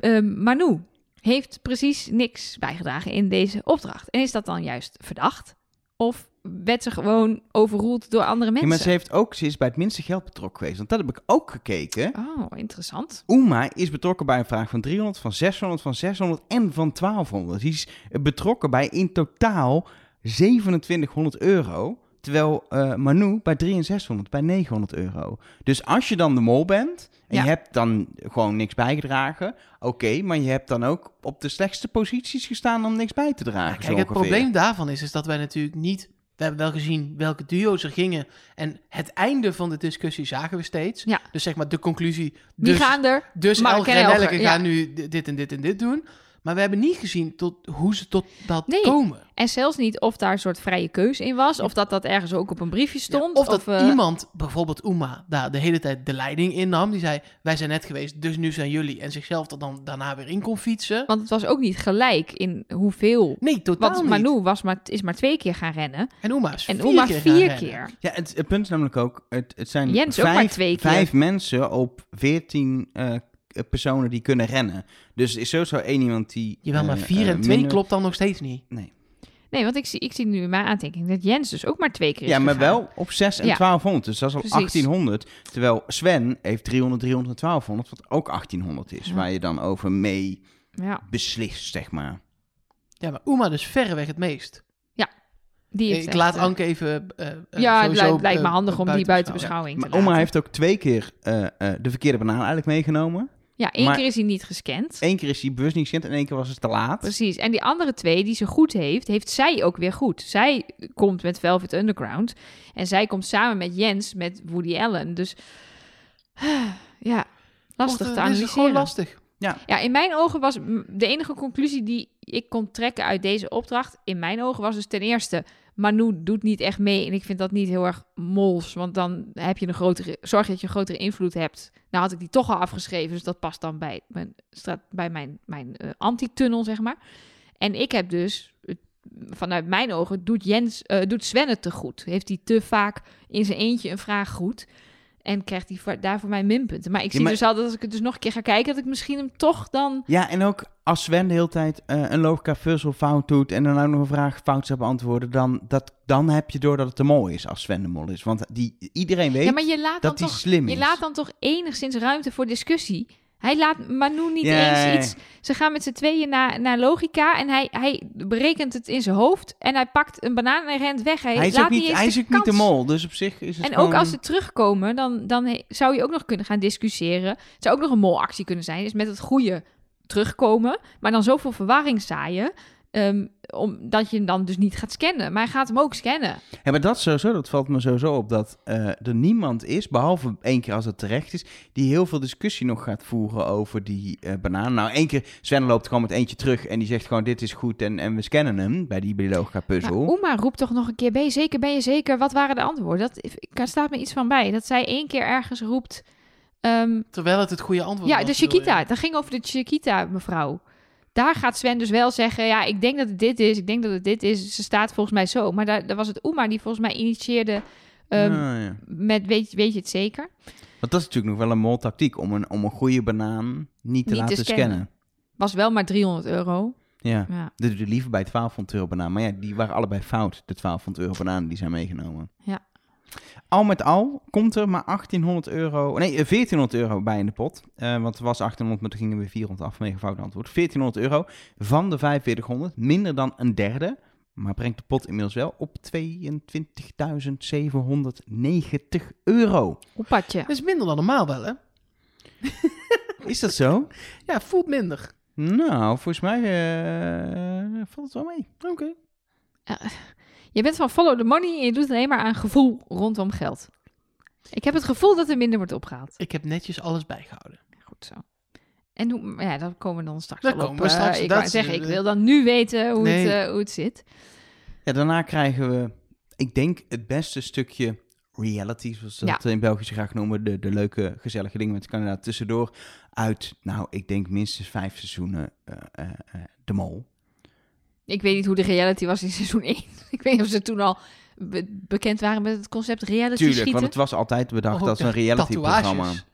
A: eh, eh, Manu heeft precies niks bijgedragen in deze opdracht. En is dat dan juist verdacht? Of werd ze gewoon overroeld door andere
B: Ja,
A: mensen?
B: maar ze, heeft ook, ze is bij het minste geld betrokken geweest. Want dat heb ik ook gekeken.
A: Oh, interessant.
B: Uma is betrokken bij een vraag van 300, van 600, van 600 en van 1200. Die is eh, betrokken bij in totaal 2700 euro. Terwijl eh, Manu bij 6300, bij 900 euro. Dus als je dan de mol bent en
A: Ja.
B: je hebt dan gewoon niks bijgedragen, oké, maar je hebt dan ook op de slechtste posities gestaan om niks bij te dragen.
C: Kijk,
B: zo
C: het
B: ongeveer.
C: probleem daarvan is, is dat wij natuurlijk niet... We hebben wel gezien welke duo's er gingen. En het einde van de discussie zagen we steeds.
A: Ja.
C: Dus zeg maar de conclusie...
A: Die
C: Dus,
A: gaan er.
C: dus
A: Mark
C: Elger
A: en
C: en
A: Elger,
C: Elke
A: ja.
C: gaan nu di- dit en dit en dit doen. Maar we hebben niet gezien tot, hoe ze tot dat
A: Nee.
C: komen.
A: En zelfs niet of daar een soort vrije keus in was. Of dat dat ergens ook op een briefje stond.
C: Ja, of dat
A: eh,
C: iemand, bijvoorbeeld Uma, daar de hele tijd de leiding in nam. Die zei, wij zijn net geweest, dus nu zijn jullie. En zichzelf er dan daarna weer in kon fietsen.
A: Want het was ook niet gelijk in hoeveel.
C: Nee, totaal
A: Want
C: niet.
A: Manu was maar, is maar twee keer gaan rennen.
C: En Uma is
A: En
C: vier
A: Oma
C: keer gaan
A: vier
C: rennen.
A: keer.
B: Ja, het, het punt is namelijk ook, het, het zijn
A: Jens ook
B: vijf,
A: maar twee keer.
B: vijf mensen op veertien eh, personen die kunnen rennen. Dus er is sowieso één iemand die...
C: Jawel, maar
B: eh,
C: vier
B: eh,
C: en twee
B: minder-
C: klopt dan nog steeds niet.
B: Nee.
A: Nee, want ik zie, ik zie nu in mijn aantekening dat Jens dus ook maar twee keer is
B: Ja, maar
A: gegaan.
B: wel op 6 en
A: Ja.
B: 1200. Dus dat is al
A: Precies.
B: 1800. Terwijl Sven heeft 300, 300 en 1200, wat ook 1800 is.
A: Ja.
B: Waar je dan over mee
A: Ja,
B: beslist, zeg maar.
C: Ja, maar Uma dus verreweg het meest.
A: die heeft
C: Ik
A: echt,
C: laat
A: eh,
C: Anke even... eh, eh,
A: Ja, het
C: sowieso,
A: lijkt, lijkt me
C: eh,
A: handig om die buiten beschouwing
C: beschouwing.
A: te
B: Maar
A: laten.
B: oma heeft ook twee keer eh, eh, de verkeerde banaan eigenlijk meegenomen.
A: Ja, één
B: maar-
A: keer is hij niet gescand.
B: Eén keer is hij bewust niet gescand en één keer was het te laat.
A: Precies. En die andere twee die ze goed heeft, heeft zij ook weer goed. Zij komt met Velvet Underground. En zij komt samen met Jens, met Woody Allen. Dus ja, lastig
C: Wordt,
A: te
C: eh, is het gewoon
A: analyseren.
C: lastig.
A: Ja, in mijn ogen was m- de enige conclusie die ik kon trekken uit deze opdracht, in mijn ogen was dus ten eerste, Manu doet niet echt mee en ik vind dat niet heel erg mols, want dan heb je een grotere, zorg dat je een grotere invloed hebt. Nou had ik die toch al afgeschreven, dus dat past dan bij mijn, stra- bij mijn, mijn eh, anti-tunnel, zeg maar. En ik heb dus, eh, vanuit mijn ogen, doet, Jens, eh, doet Sven het te goed. Heeft hij te vaak in zijn eentje een vraag goed. En krijgt hij voor- daar voor mij minpunten. Maar ik
B: Ja,
A: zie
B: maar-
A: dus al dat als ik het dus nog een keer ga kijken... dat ik misschien hem toch dan...
B: Ja, en ook als Sven de hele tijd eh, een logica puzzel fout doet en dan ook nog een vraag fout zou beantwoorden, dan, dat, dan heb je door dat het de mol is als Sven de mol is. Want die, iedereen weet
A: ja, maar je laat dan
B: dat hij
A: toch...
B: slim is.
A: Je laat dan toch enigszins ruimte voor discussie? Hij laat Manu niet
B: Ja, ja, ja.
A: eens iets... Ze gaan met z'n tweeën naar, naar logica... en hij, hij berekent het in zijn hoofd... en hij pakt een banaan en rent weg. Hij,
B: hij is
A: laat
B: ook niet,
A: eens
B: hij
A: de
B: is ook niet de
A: kans.
B: mol, dus op zich is het
A: En ook
B: gewoon-
A: als ze terugkomen, dan, dan he- zou je ook nog kunnen gaan discussiëren. Het zou ook nog een molactie kunnen zijn. Dus met het goede terugkomen, maar dan zoveel verwarring zaaien... ehm, omdat je hem dan dus niet gaat scannen. Maar hij gaat hem ook scannen.
B: Ja, maar dat sowieso, dat valt me sowieso op, dat eh, er niemand is, behalve één keer als het terecht is, die heel veel discussie nog gaat voeren over die eh banaan. Nou, één keer, Sven loopt gewoon met eentje terug en die zegt gewoon, dit is goed en, en we scannen hem bij die logica
A: Maar
B: puzzel.
A: Oema roept toch nog een keer, ben je zeker, ben je zeker? Wat waren de antwoorden? Dat, ik- daar staat me iets van bij. Dat zij één keer ergens roept... ehm,
C: Terwijl het het goede antwoord
A: ja, dus
C: was,
A: de
C: bedoel je.
A: Chiquita. Dat ging over de Chiquita, mevrouw. Daar gaat Sven dus wel zeggen, ja, ik denk dat het dit is, ik denk dat het dit is. Ze staat volgens mij zo. Maar daar, daar was het Oema die volgens mij initieerde ehm,
B: Ah, ja.
A: met, weet, weet je het zeker?
B: Want dat is natuurlijk nog wel een mol-tactiek om een, om een goede banaan niet te
A: Niet te
B: laten
A: scannen.
B: scannen.
A: Was wel maar 300 euro.
B: Ja,
A: Ja,
B: dat doe je liever bij 1200 euro banaan. Maar ja, die waren allebei fout, de 1200 euro bananen die zijn meegenomen.
A: Ja.
B: Al met al komt er maar 1800 euro, nee, eh, 1400 euro bij in de pot. Eh, want er was 800, maar toen gingen we 400 af vanwege fout antwoord. 1400 euro van de 4500, minder dan een derde. Maar brengt de pot inmiddels wel op 22.790 euro.
A: Hoepatje.
C: Dat is minder dan normaal wel, hè?
B: Is dat zo?
C: Ja, voelt minder.
B: Nou, volgens mij eh, valt het wel mee.
C: Oké.
A: Je bent van follow the money en je doet alleen maar aan gevoel rondom geld. Ik heb het gevoel dat er minder wordt opgehaald.
C: Ik heb netjes alles bijgehouden.
A: Goed zo. En hoe, maar ja, daar komen we dan straks
C: Daar
A: wel op.
C: komen we
A: Eh,
C: straks,
A: ik
C: dat
A: wou
C: is-
A: zeggen, ik wil dan nu weten hoe, het,
C: Nee.
A: eh, hoe het zit.
B: Ja, daarna krijgen we, ik denk, het beste stukje reality, zoals ze dat in België zo graag noemen. De, de leuke, gezellige dingen met de kandidaat tussendoor. Uit, nou, ik denk minstens vijf seizoenen eh, eh, eh, De Mol.
A: Ik weet niet hoe de reality was in seizoen 1. ik weet niet of ze toen al be- bekend waren met het concept reality
B: Tuurlijk,
A: schieten.
B: want het was altijd bedacht
C: Oh,
B: als een
C: de
B: realityprogramma.
C: tatoeages.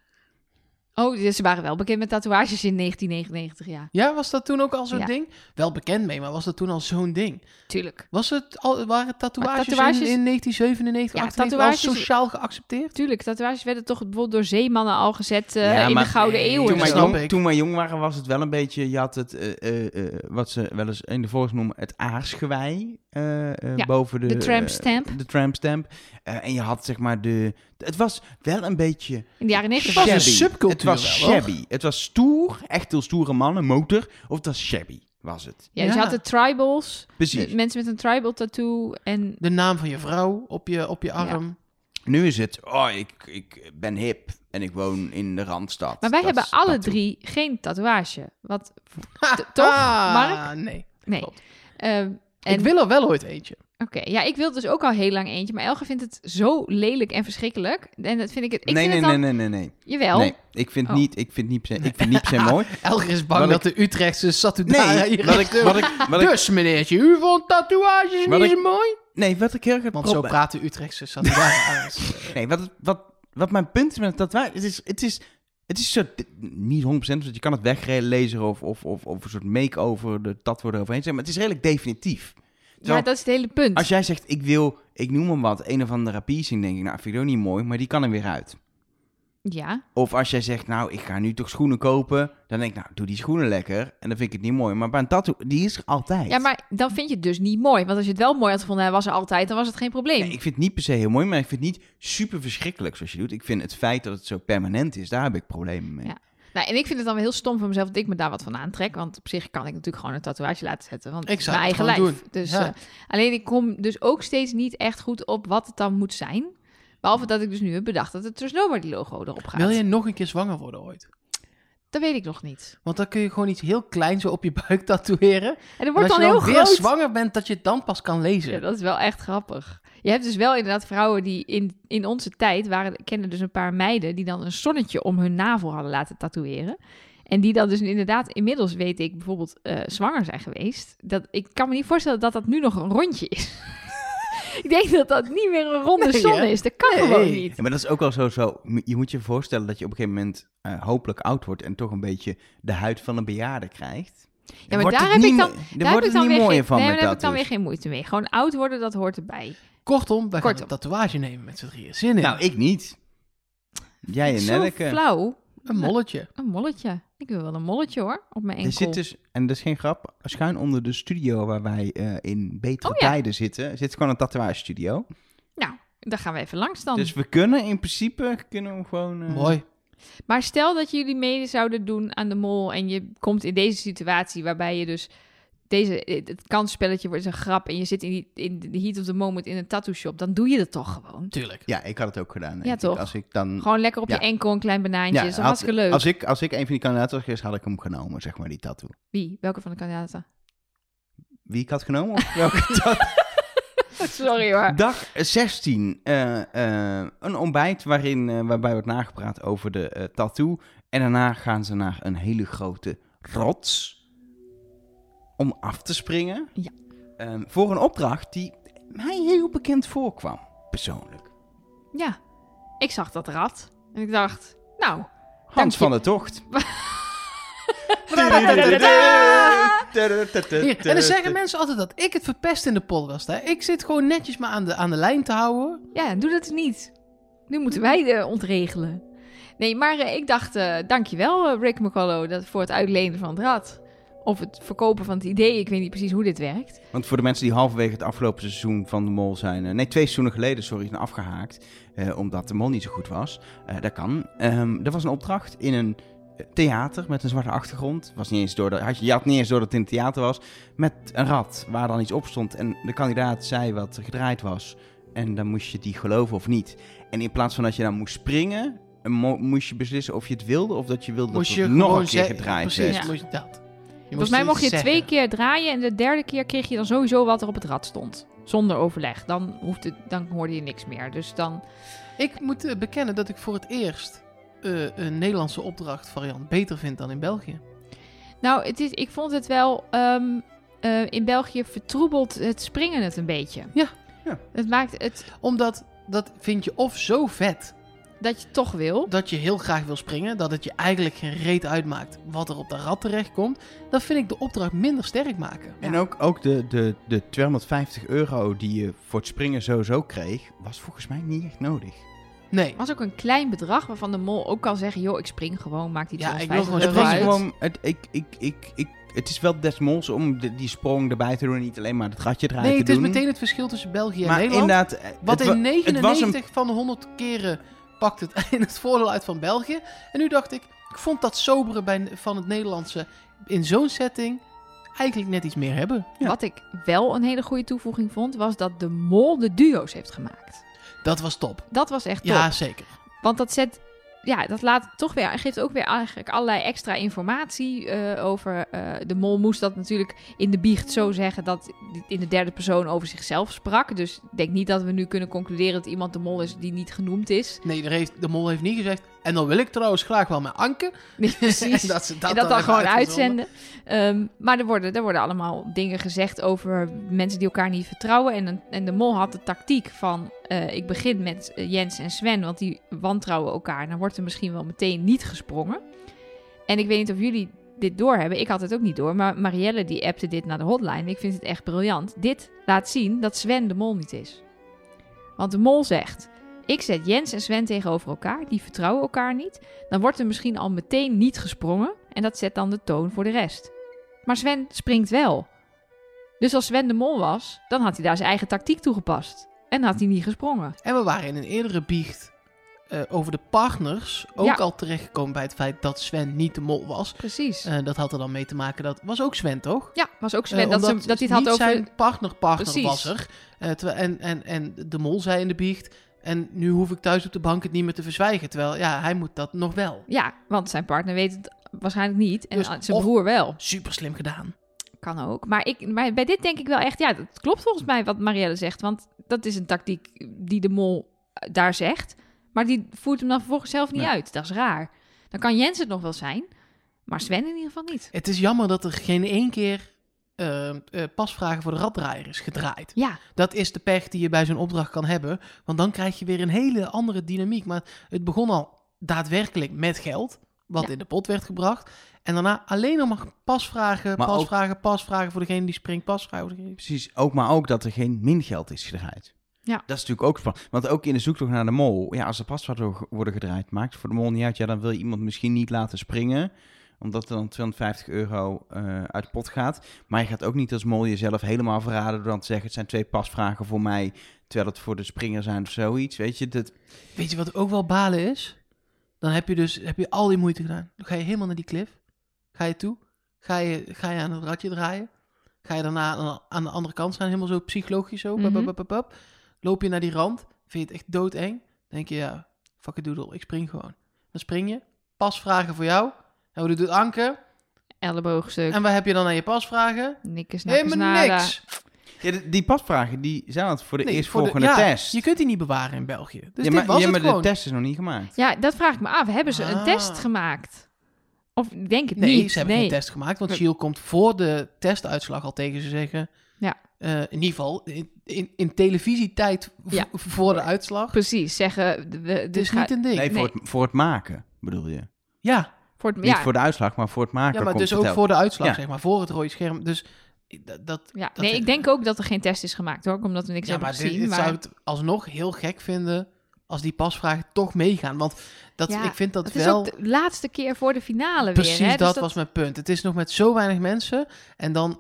A: Oh, dus ze waren wel bekend met tatoeages in 1999, ja.
C: Ja, was dat toen ook al zo'n
A: Ja.
C: ding? Wel bekend mee, maar was dat toen al zo'n ding?
A: Tuurlijk.
C: Was het al, waren tatoeages,
A: Maar tatoeages-
C: in, in 1997,
A: Ja,
C: 98 al
A: tatoeages-
C: sociaal geaccepteerd?
A: Tuurlijk, tatoeages werden toch bijvoorbeeld door zeemannen al gezet eh,
B: Ja,
A: in
B: maar-
A: de Gouden
C: Nee,
A: Eeuw. en
B: Toen wij,
A: zo.
C: Snap
B: jong,
C: ik.
B: toen wij jong waren was het wel een beetje, je had het, eh, eh, eh, wat ze wel eens in de volks noemen, het aarsgewei eh, eh,
A: Ja,
B: boven de...
A: de tramp
B: eh,
A: stamp.
B: de tramp stamp. Eh, en je had zeg maar de... Het was wel een beetje
A: In de jaren 90
C: was
A: was
C: een
A: het.
B: shabby.
C: subcultuur
B: Het was
C: wel, hoor.
B: shabby. Het was stoer, echt heel stoere mannen, motor. Of het was shabby, was het.
A: Ja, dus je
C: Ja.
A: had de tribals,
B: Precies.
A: de mensen met een tribal tattoo en...
C: De naam van je vrouw op je, op je arm.
B: Nu is het, oh, ik, ik ben hip en ik woon in de Randstad.
A: Maar wij
B: Dat
A: hebben
B: is
A: alle
B: tattoo.
A: drie geen tatoeage. Wat,
C: Ha,
A: T- toch,
C: ha,
A: Mark?
C: Ah, Nee.
A: nee.
C: Klopt.
A: Ehm,
C: Ik
A: en-
C: wil er wel ooit eentje.
A: Oké, ja, ik wil dus ook al heel lang eentje, maar Elge vindt het zo lelijk en verschrikkelijk. En dat vind ik het. Ik
B: nee,
A: vind het
B: nee,
A: dan,
B: nee, nee, nee, nee.
A: Jawel.
B: Nee, ik vind,
A: Oh.
B: niet, ik vind niet per se, ik vind niet per se mooi.
C: Elger is bang
B: Wat
C: dat de Utrechtse Satudara
B: Nee,
C: hier
B: wat ik, wat ik, wat ik,
C: Dus meneertje, u vond tatoeages
B: Wat
C: niet
B: ik-
C: zo mooi?
B: nee, wat ik heel erg het
C: Want zo
B: probleem-
C: praten Utrechtse Satudara's.
B: Nee, wat, het- wat, wat mijn punt is met dat wij, het is, het is, het is zo, niet 100%, want je kan het weglezen of, of, of, of een soort make-over, de, dat wordt eroverheen zeggen, maar het is redelijk definitief.
A: Ja,
B: Terwijl-
A: dat is het hele punt.
B: Als jij zegt, ik wil, ik noem hem wat, een of andere piercing, denk ik, nou, vind ik dat niet mooi, maar die kan er weer uit.
A: Ja,
B: Of als jij zegt, nou, ik ga nu toch schoenen kopen, dan denk ik, nou, doe die schoenen lekker. En dan vind ik het niet mooi. Maar bij een tattoo, die is er altijd.
A: ja, maar dan vind je het dus niet mooi. Want als je het wel mooi had gevonden, hij was er altijd, dan was het geen probleem.
B: Nee, ik vind het niet per se heel mooi, maar ik vind het niet super verschrikkelijk zoals je doet. Ik vind het feit dat het zo permanent is, daar heb ik problemen mee.
A: Ja. Nou, en ik vind het dan wel heel stom van mezelf dat ik me daar wat van aantrek. Want op zich kan ik natuurlijk gewoon een tatoeage laten zetten. Want het
C: Ik
A: is
C: zou
A: mijn
C: het
A: eigen
C: gewoon
A: lijf.
C: doen.
A: Dus,
C: Ja.
A: eh, alleen ik kom dus ook steeds niet echt goed op wat het dan moet zijn. Behalve dat ik dus nu heb bedacht dat het Trust Nobody logo erop gaat.
C: Wil je nog een keer zwanger worden ooit?
A: Dat weet ik nog niet.
C: Want dan kun je gewoon iets heel kleins zo op je buik tatoeëren.
A: En dat
C: En als
A: wordt dan,
C: je dan
A: heel
C: weer
A: groot.
C: zwanger bent, dat je het dan pas kan lezen.
A: Ja, dat is wel echt grappig. Je hebt dus wel inderdaad vrouwen die in, in onze tijd waren, kennen dus een paar meiden die dan een zonnetje om hun navel hadden laten tatoeëren. En die dan dus inderdaad, inmiddels weet ik bijvoorbeeld, eh, zwanger zijn geweest. Dat, ik kan me niet voorstellen dat dat nu nog een rondje is. ik denk dat dat niet meer een ronde
C: Nee,
A: zon
C: hè?
A: is. Dat kan
C: Nee.
A: gewoon niet.
B: Ja, maar dat is ook wel zo, zo. Je moet je voorstellen dat je op een gegeven moment eh, hopelijk oud wordt en toch een beetje de huid van een bejaarde krijgt.
A: maar
B: Wordt
A: daar
B: het
A: heb
B: niet
A: ik dan-
B: mo-
A: Daar
B: wordt
A: heb ik
B: het
A: dan
B: niet
A: weer
B: mooier
A: geen-
B: van
A: nee,
B: met dus.
A: daar heb ik dan weer
B: tattoos.
A: geen moeite mee. Gewoon oud worden, dat hoort erbij.
C: Kortom, wij gaan
A: Kortom.
C: een tatoeage nemen met z'n drieën. Zin in.
B: Nou, ik niet. Jij en
A: Zo
B: Nelleke.
A: flauw.
C: een molletje.
A: Een molletje. Ik wil wel een molletje hoor, op mijn enkel.
B: Er zit dus, en dat is geen grap, schuin onder de studio waar wij eh, in betere
A: Oh ja.
B: tijden zitten, zit gewoon een tatoeage studio.
A: Nou, daar gaan we even langs dan.
B: Dus we kunnen in principe, kunnen we hem gewoon... eh,
C: Mooi.
A: Maar stel dat jullie mede zouden doen aan de mol en je komt in deze situatie waarbij je dus deze, het kansspelletje wordt een grap en je zit in, die, in de heat of the moment in een tattoo shop, dan doe je dat toch gewoon.
C: Tuurlijk.
B: Ja, ik had het ook gedaan. denk
A: Ja,
B: ik.
A: toch?
B: Als ik dan...
A: Gewoon lekker op
B: Ja.
A: je enkel een klein banaantje,
B: ja,
A: dat is
B: had-
A: hartstikke leuk.
B: Als ik, als ik een van die kandidaten was geweest, had ik hem genomen, zeg maar, die tattoo.
A: Wie? Welke van de kandidaten?
B: Wie ik had genomen? Of welke tattoo?
A: Sorry hoor.
B: Dag 16. eh, eh, een ontbijt waarin, eh, waarbij wordt nagepraat over de eh, tattoo. En daarna gaan ze naar een hele grote rots. Om af te springen.
A: Ja.
B: Ehm, voor een opdracht die mij heel bekend voorkwam. Persoonlijk.
A: Ja, ik zag dat rad en ik dacht, nou,
B: Hans
A: Dank je.
B: van der Tocht.
C: Hier, en dan zeggen mensen altijd dat ik het verpest in de podcast. Hè? Ik zit gewoon netjes maar aan de, aan de lijn te houden.
A: Ja, doe dat niet. Nu moeten wij eh, ontregelen. Nee, maar eh, ik dacht, eh, dankjewel eh, Rick McCullough dat, voor het uitlenen van het rad. Of het verkopen van het idee, ik weet niet precies hoe dit werkt.
B: Want voor de mensen die halverwege het afgelopen seizoen van de Mol zijn... eh, nee, twee seizoenen geleden, sorry, zijn afgehaakt... eh, omdat de Mol niet zo goed was. Eh, dat kan. Ehm dat was een opdracht in een eh, theater met een zwarte achtergrond. Was niet eens door dat, had je, je had niet eens door dat het in het theater was. Met een rad waar dan iets op stond. En de kandidaat zei wat er gedraaid was. En dan moest je die geloven of niet. En in plaats van dat je dan moest springen... eh, mo- moest je beslissen of je het wilde of dat je wilde
C: Moest
B: dat
C: je
B: het nog
C: gewoon
B: een keer
C: zeggen-
B: gedraaid werd.
C: Precies,
A: werd.
C: moest je dat.
A: Volgens mij mocht je twee keer draaien en de derde keer kreeg je dan sowieso wat er op het rad stond. Zonder overleg. Dan, hoefde, dan hoorde je niks meer. Dus dan,
C: Ik moet eh, bekennen dat ik voor het eerst eh, een Nederlandse opdracht variant beter vind dan in België.
A: Nou, het is, ik vond het wel. ehm, eh, in België vertroebelt het springen het een beetje.
C: Ja.
B: Ja.
A: Het maakt het
C: Omdat dat vind je of zo vet
A: dat je toch wil.
C: dat je heel graag wil springen, dat het je eigenlijk geen reet uitmaakt wat er op de rad terechtkomt. Dat vind ik de opdracht minder sterk maken.
B: En ook, ook de, de, de 250 euro die je voor het springen sowieso kreeg, was volgens mij niet echt nodig.
C: Oh, Nee,
A: was ook een klein bedrag waarvan de mol ook kan zeggen: joh, ik spring gewoon, maakt die
C: Ja, ik
A: 250
C: wil
A: euro
B: Het was
C: uit.
B: gewoon, het, ik, ik, ik, ik, het is wel des mols om de- die sprong erbij te doen en niet alleen maar het ratje eruit
C: nee
B: te
C: het is
B: doen.
C: meteen het verschil tussen België en
B: maar
C: Nederland.
B: inderdaad, eh,
C: Wat
B: het
C: in
B: wa-
C: 99 van de 100 keren pakt het in het voordeel uit van België. En nu dacht ik, ik vond dat sobere bij, van het Nederlandse in zo'n setting eigenlijk net iets meer hebben.
B: Ja.
A: Wat ik wel een hele goede toevoeging vond, was dat de mol de duo's heeft gemaakt.
C: Dat was top.
A: Dat was echt top.
C: Ja, zeker.
A: Want dat zet. Ja, dat laat toch weer, geeft ook weer eigenlijk allerlei extra informatie eh, over. eh, de mol moest dat natuurlijk in de biecht zo zeggen dat dit in de derde persoon over zichzelf sprak. Dus ik denk niet dat we nu kunnen concluderen dat iemand de mol is die niet genoemd is.
C: Nee, er heeft, de mol heeft niet gezegd. En dan wil ik trouwens graag wel met Anke.
A: Nee, precies.
C: En dat, ze
A: en dat dan
C: hebben
A: gewoon uitzenden.
C: uitgezonden.
A: Ehm, maar er worden, er worden allemaal dingen gezegd over mensen die elkaar niet vertrouwen. En, een- en de mol had de tactiek van... eh, ik begin met eh, Jens en Sven, want die wantrouwen elkaar. En dan wordt er misschien wel meteen niet gesprongen. En ik weet niet of jullie dit doorhebben. Ik had het ook niet door. Maar Marielle die appte dit naar de hotline. Ik vind het echt briljant. Dit laat zien dat Sven de mol niet is. Want de mol zegt... Ik zet Jens en Sven tegenover elkaar. Die vertrouwen elkaar niet dan wordt er misschien al meteen niet gesprongen en dat zet dan de toon voor de rest. Maar Sven springt wel. Dus als Sven de mol was, dan had hij daar zijn eigen tactiek toegepast. En had hij niet gesprongen.
C: En we waren in een eerdere biecht eh, over de partners ook
A: Ja.
C: al terechtgekomen bij het feit dat Sven niet de mol was.
A: Precies.
C: Eh, dat had er dan mee te maken dat was ook Sven, toch?
A: ja, was ook Swen
C: Eh,
A: dat,
C: omdat
A: ze, dat hij het had
C: niet
A: over...
C: zijn partner, partner
A: Precies.
C: was er. Eh, terwijl- en, en, en de mol zei in de biecht... en nu hoef ik thuis op de bank het niet meer te verzwijgen. Terwijl, ja, hij moet dat nog wel.
A: Ja, want zijn partner weet het waarschijnlijk niet. En eh,
C: Dus
A: zijn
C: of-
A: broer wel.
C: Super slim gedaan.
A: Kan ook. Maar, ik, maar bij dit denk ik wel echt... Ja, dat klopt volgens mij wat Marielle zegt. Want dat is een tactiek die de mol eh, daar zegt. Maar die voert hem dan vervolgens zelf niet
B: Nee.
A: uit. Dat is raar. Dan kan Jens het nog wel zijn. Maar Sven in ieder geval niet.
C: Het is jammer dat er geen één keer... eh, eh, pasvragen voor de raddraaier is gedraaid.
A: Ja,
C: Dat is de pech die je bij zo'n opdracht kan hebben. Want dan krijg je weer een hele andere dynamiek. Maar het begon al daadwerkelijk met geld. Wat
A: Ja.
C: in de pot werd gebracht. En daarna alleen nog maar pasvragen,
B: Maar ook-
C: pasvragen, pasvragen voor degene die springt, pasvragen voor degene die
B: Precies, ook, maar ook dat er geen min geld is gedraaid.
A: Ja.
B: Dat is natuurlijk ook spannend. Want ook in de zoektocht naar de mol, ja, als er paswaarden worden gedraaid, maakt het voor de mol niet uit. Ja, dan wil je iemand misschien niet laten springen, omdat er dan 250 euro eh, uit de pot gaat. Maar je gaat ook niet als mol jezelf helemaal verraden door dan te zeggen, het zijn twee pasvragen voor mij, terwijl het voor de springer zijn of zoiets. Weet je, dat,
C: Weet je wat ook wel balen is? Dan heb je dus heb je al die moeite gedaan. Dan ga je helemaal naar die cliff. Ga je toe. Ga je, ga je aan het radje draaien. Ga je daarna aan- aan de andere kant staan. Helemaal zo psychologisch zo. Pap,
A: Mhm.
C: pap, pap, pap, pap. Loop je naar die rand. Vind je het echt doodeng. Denk je, ja, fuck it doodle. Ik spring gewoon. Dan spring je. Pasvragen voor jou. En wat doet Anke?
A: elleboogstuk.
C: En wat heb je dan aan je pasvragen?
A: Nikkes, nakkes,
C: Helemaal
A: nada.
C: niks.
B: ja, die- die pasvragen, die zijn het voor de
C: Nee,
B: eerstvolgende
C: voor de- ja,
B: test.
C: Je kunt die niet bewaren in België. Dus
B: ja,
C: dit
B: maar,
C: was
B: ja,
C: het
B: maar
C: gewoon.
B: de test is nog niet gemaakt.
A: Ja, dat vraag ik me af. Hebben ze een
C: Ah.
A: test gemaakt? Of ik denk het
C: Nee,
A: niet.
C: ze hebben
A: nee.
C: geen test gemaakt. Want
B: Nee.
C: Giel komt voor de testuitslag al tegen ze zeggen.
A: Ja.
C: eh, in ieder geval, in, in, in televisietijd v-
A: Ja.
C: voor de uitslag.
A: Precies, zeggen... We,
C: Het is
A: dus ga-
C: niet een ding.
B: Nee, voor,
A: Nee.
B: Het, voor het maken bedoel je.
C: Ja,
A: Voor het,
B: Niet
A: ja,
B: voor de uitslag, maar voor het maken.
C: Ja, maar
B: komt
C: dus
B: het
C: ook
B: wel.
C: voor de uitslag,
B: Ja.
C: zeg maar. Voor het rode scherm. Dus i- dat... dat
A: ja.
C: dat
A: Nee,
C: is-
A: ik denk ook dat er geen test is gemaakt hoor, omdat we niks
C: ja,
A: hebben
C: maar dit,
A: gezien.
C: dit
A: maar
C: zou het alsnog heel gek vinden als die pasvragen toch meegaan. Want dat,
A: Ja,
C: ik vind dat
A: het is
C: wel...
A: ook de laatste keer voor de finale
C: Precies
A: weer. Hè?
C: dat,
A: Dus dat-
C: was mijn punt. Het is nog met zo weinig mensen. En dan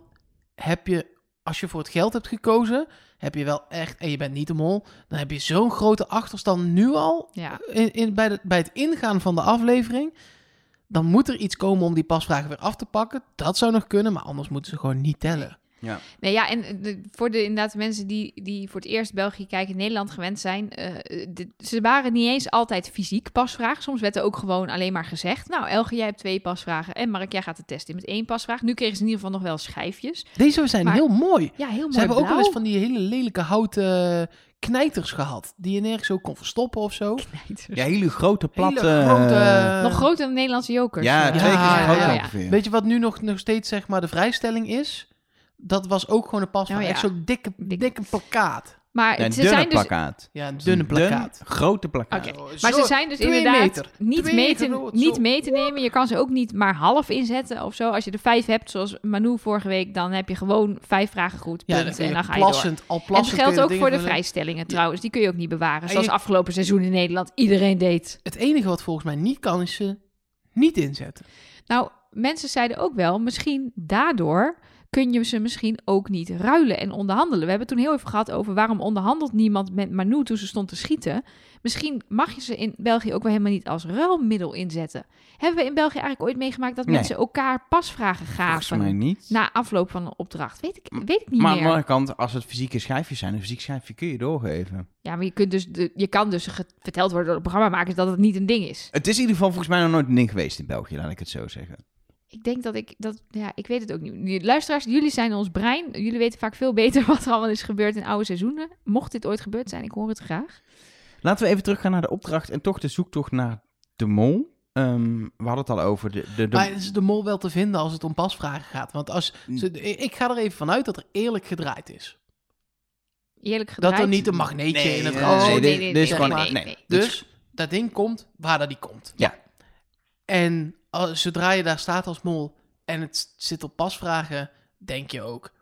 C: heb je, als je voor het geld hebt gekozen, heb je wel echt, en je bent niet de mol, dan heb je zo'n grote achterstand nu al
A: Ja,
C: in, in, bij, de, bij het ingaan van de aflevering. Dan moet er iets komen om die pasvragen weer af te pakken. Dat zou nog kunnen, maar anders moeten ze gewoon niet tellen.
A: nee, ja en eh, de- voor de inderdaad de mensen die, die voor het eerst België kijken, Nederland gewend zijn, eh, eh, dit- ze waren niet eens altijd fysiek pasvraag. Soms werd er ook gewoon alleen maar gezegd, nou Elge, jij hebt twee pasvragen en Mark, jij gaat de test in met één pasvraag. Nu kregen ze in ieder geval nog wel schijfjes.
C: Deze zijn
A: Maar- Nou.
C: heel mooi.
A: Ja, heel mooi
C: Ze hebben ook wel
A: blauw.
C: eens van die hele lelijke houten knijters gehad. Die je nergens ook kon verstoppen of zo.
A: Knijters.
B: Ja, hele grote, platte... eh,
C: Hele grote...
A: dus Nog groter dan Nederlandse jokers.
B: Ja,
A: eh.
B: twee keer
C: Ja,
B: zo groot
C: ja, ja.
B: ongeveer.
C: Weet je wat nu nog, nog steeds zeg maar de vrijstelling is? Dat was ook gewoon een pas van
A: Oh ja.
C: echt zo'n dikke,
A: Dik.
C: dikke plakkaat.
A: Maar
B: Een
A: ze
B: dunne
A: zijn dus...
B: plakkaat.
C: Ja, een dunne plakkaat.
B: Dun, grote plakkaat.
A: Oké,
C: Zo-
A: Maar
C: zo-
A: ze zijn dus
C: twee
A: inderdaad
C: meter.
A: niet,
C: Twee
A: mee
C: meter
A: te,
C: rood,
A: niet
C: zo.
A: mee te nemen. Je kan ze ook niet maar half inzetten of zo. Als je er vijf hebt, zoals Manu vorige week, dan heb je gewoon vijf vragen goed.
C: Ja,
A: punt,
C: dan kun je
A: en dan ga je door.
C: plassend,
A: En
C: al
A: dat
C: plassend kun
A: geldt
C: je
A: ook
C: dingen
A: voor de
C: van-
A: vrijstellingen trouwens. Die kun je ook niet bewaren.
C: En
A: Zoals
C: je-
A: afgelopen seizoen in Nederland iedereen deed.
C: Het enige wat volgens mij niet kan is ze niet inzetten.
A: Nou, mensen zeiden ook wel, misschien daardoor kun je ze misschien ook niet ruilen en onderhandelen. We hebben het toen heel even gehad over waarom onderhandelt niemand met Manu toen ze stond te schieten. Misschien mag je ze in België ook wel helemaal niet als ruilmiddel inzetten. Hebben we in België eigenlijk ooit meegemaakt dat
B: Nee.
A: mensen elkaar pasvragen
B: Volgens
A: gaven
B: mij niet.
A: na afloop van een opdracht? Weet ik, weet ik nou, niet
B: maar aan de
A: meer.
B: andere kant, als het fysieke schijfjes zijn, een fysiek schijfje kun je doorgeven.
A: Ja, maar je, kunt dus de- je kan dus ge- verteld worden door de programmamakers dat het niet een ding is.
B: Het is in ieder geval volgens mij nog nooit een ding geweest in België, laat ik het zo zeggen.
A: Ik denk dat ik dat, ja, ik weet het ook niet. Die Luisteraars, jullie zijn ons brein. Jullie weten vaak veel beter wat er allemaal is gebeurd in oude seizoenen. Mocht dit ooit gebeurd zijn, ik hoor het graag.
B: Laten we even teruggaan naar de opdracht en toch de zoektocht naar de mol. Ehm, we hadden het al over de... de, de
C: Maar is de mol wel te vinden als het om pasvragen gaat? Want als ze, ik ik ga er even vanuit dat er eerlijk gedraaid is.
A: Eerlijk gedraaid.
C: Dat er niet een magneetje in het
B: eh,
C: rand
A: nee,
C: zit.
A: nee,
B: dit-
A: nee,
B: dit is
A: nee,
B: gewoon...
A: nee,
B: nee,
A: nee.
B: dit is-
C: Dus dat ding komt waar dat die komt.
B: Ja.
C: En als- zodra je daar staat als mol en het s- zit op pasvragen, denk je ook,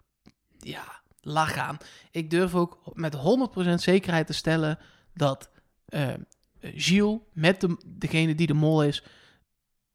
C: ja, lach aan. Ik durf ook met 100% zekerheid te stellen dat eh, Gilles met de, degene die de mol is,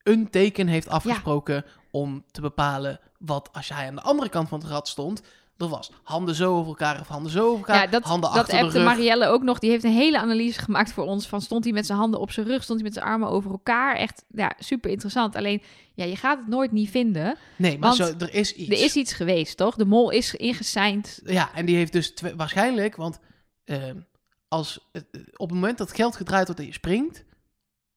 C: een teken heeft afgesproken om te bepalen wat als hij aan de andere kant van het rad stond, er was. Handen zo over elkaar of handen zo over elkaar,
A: Ja, dat,
C: handen
A: dat
C: achter de
A: appte
C: rug.
A: Marielle ook nog. Die heeft een hele analyse gemaakt voor ons. Van stond hij met zijn handen op zijn rug, stond hij met zijn armen over elkaar. Echt ja, super interessant. Alleen, ja, je gaat het nooit niet vinden.
C: nee, maar
A: want
C: zo, er is iets.
A: Er is iets geweest, toch? De mol is ingeseind.
C: Ja, en die heeft dus twe- waarschijnlijk, want ehm, als, het- op het moment dat geld gedraaid wordt en je springt,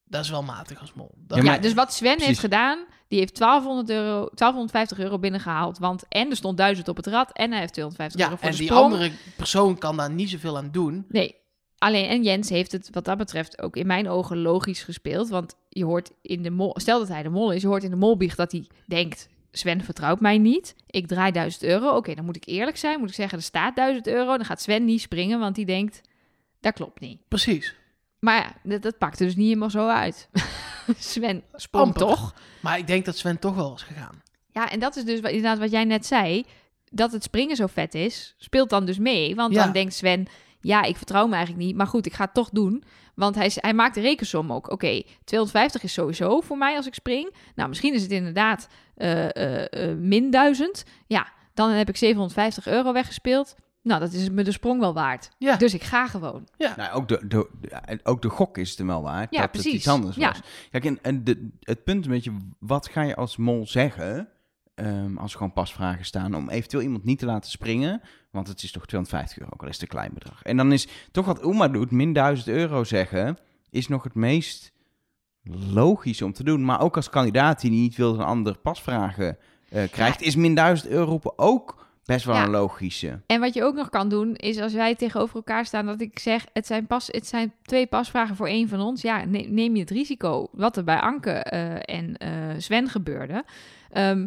C: dat is wel matig als mol. Dat-
B: Ja,
A: Ja,
B: maar-
A: dus wat Sven heeft
B: Precies.
A: gedaan, die heeft 1200 euro, 1250 euro binnengehaald. Want en er stond 1000 op het rad en hij heeft 250
C: ja,
A: euro voor
C: en
A: de
C: die
A: sprong.
C: andere persoon kan daar niet zoveel aan doen.
A: Nee, alleen en Jens heeft het wat dat betreft ook in mijn ogen logisch gespeeld. Want je hoort in de mol, stel dat hij de mol is, je hoort in de molbiecht dat hij denkt... Sven vertrouwt mij niet. Ik draai 1000 euro. Oké, dan moet ik eerlijk zijn. Moet ik zeggen, er staat 1000 euro. Dan gaat Sven niet springen, want die denkt, dat klopt niet.
C: Precies.
A: Maar ja, dat, dat pakte dus niet helemaal zo uit. Sven sprong
C: Amper.
A: toch?
C: Maar ik denk dat Sven toch wel was gegaan.
A: Ja, en dat is dus wat, inderdaad wat jij net zei. Dat het springen zo vet is, speelt dan dus mee. Want
C: Ja.
A: dan denkt Sven, ja, ik vertrouw me eigenlijk niet. Maar goed, ik ga het toch doen. Want hij, is- hij maakt de rekensom ook. Oké, 250 is sowieso voor mij als ik spring. Nou, misschien is het inderdaad eh, eh, eh, min 1000. Ja, dan heb ik 750 euro weggespeeld. Nou, dat is me de sprong wel waard.
C: Ja.
A: Dus ik ga gewoon.
B: Nou, ook de, de, de- ook de gok is het hem wel waard
A: Ja,
B: dat
A: precies.
B: het iets anders
A: Ja.
B: was. Kijk, en, en de, het punt een beetje, wat ga je als mol zeggen ehm, als er gewoon pasvragen staan om eventueel iemand niet te laten springen? Want het is toch 250 euro, ook al is het een klein bedrag. En dan is toch wat Uma doet, min 1000 euro zeggen, is nog het meest logisch om te doen. Maar ook als kandidaat die niet wil dat een ander pasvragen eh, krijgt, is min 1000 euro roepen ook best wel
A: Ja.
B: een logische.
A: En wat je ook nog kan doen, is als wij tegenover elkaar staan, dat ik zeg: het zijn, pas, het zijn twee pasvragen voor één van ons. Ja, ne- neem je het risico. Wat er bij Anke eh, en eh, Sven gebeurde. Ehm,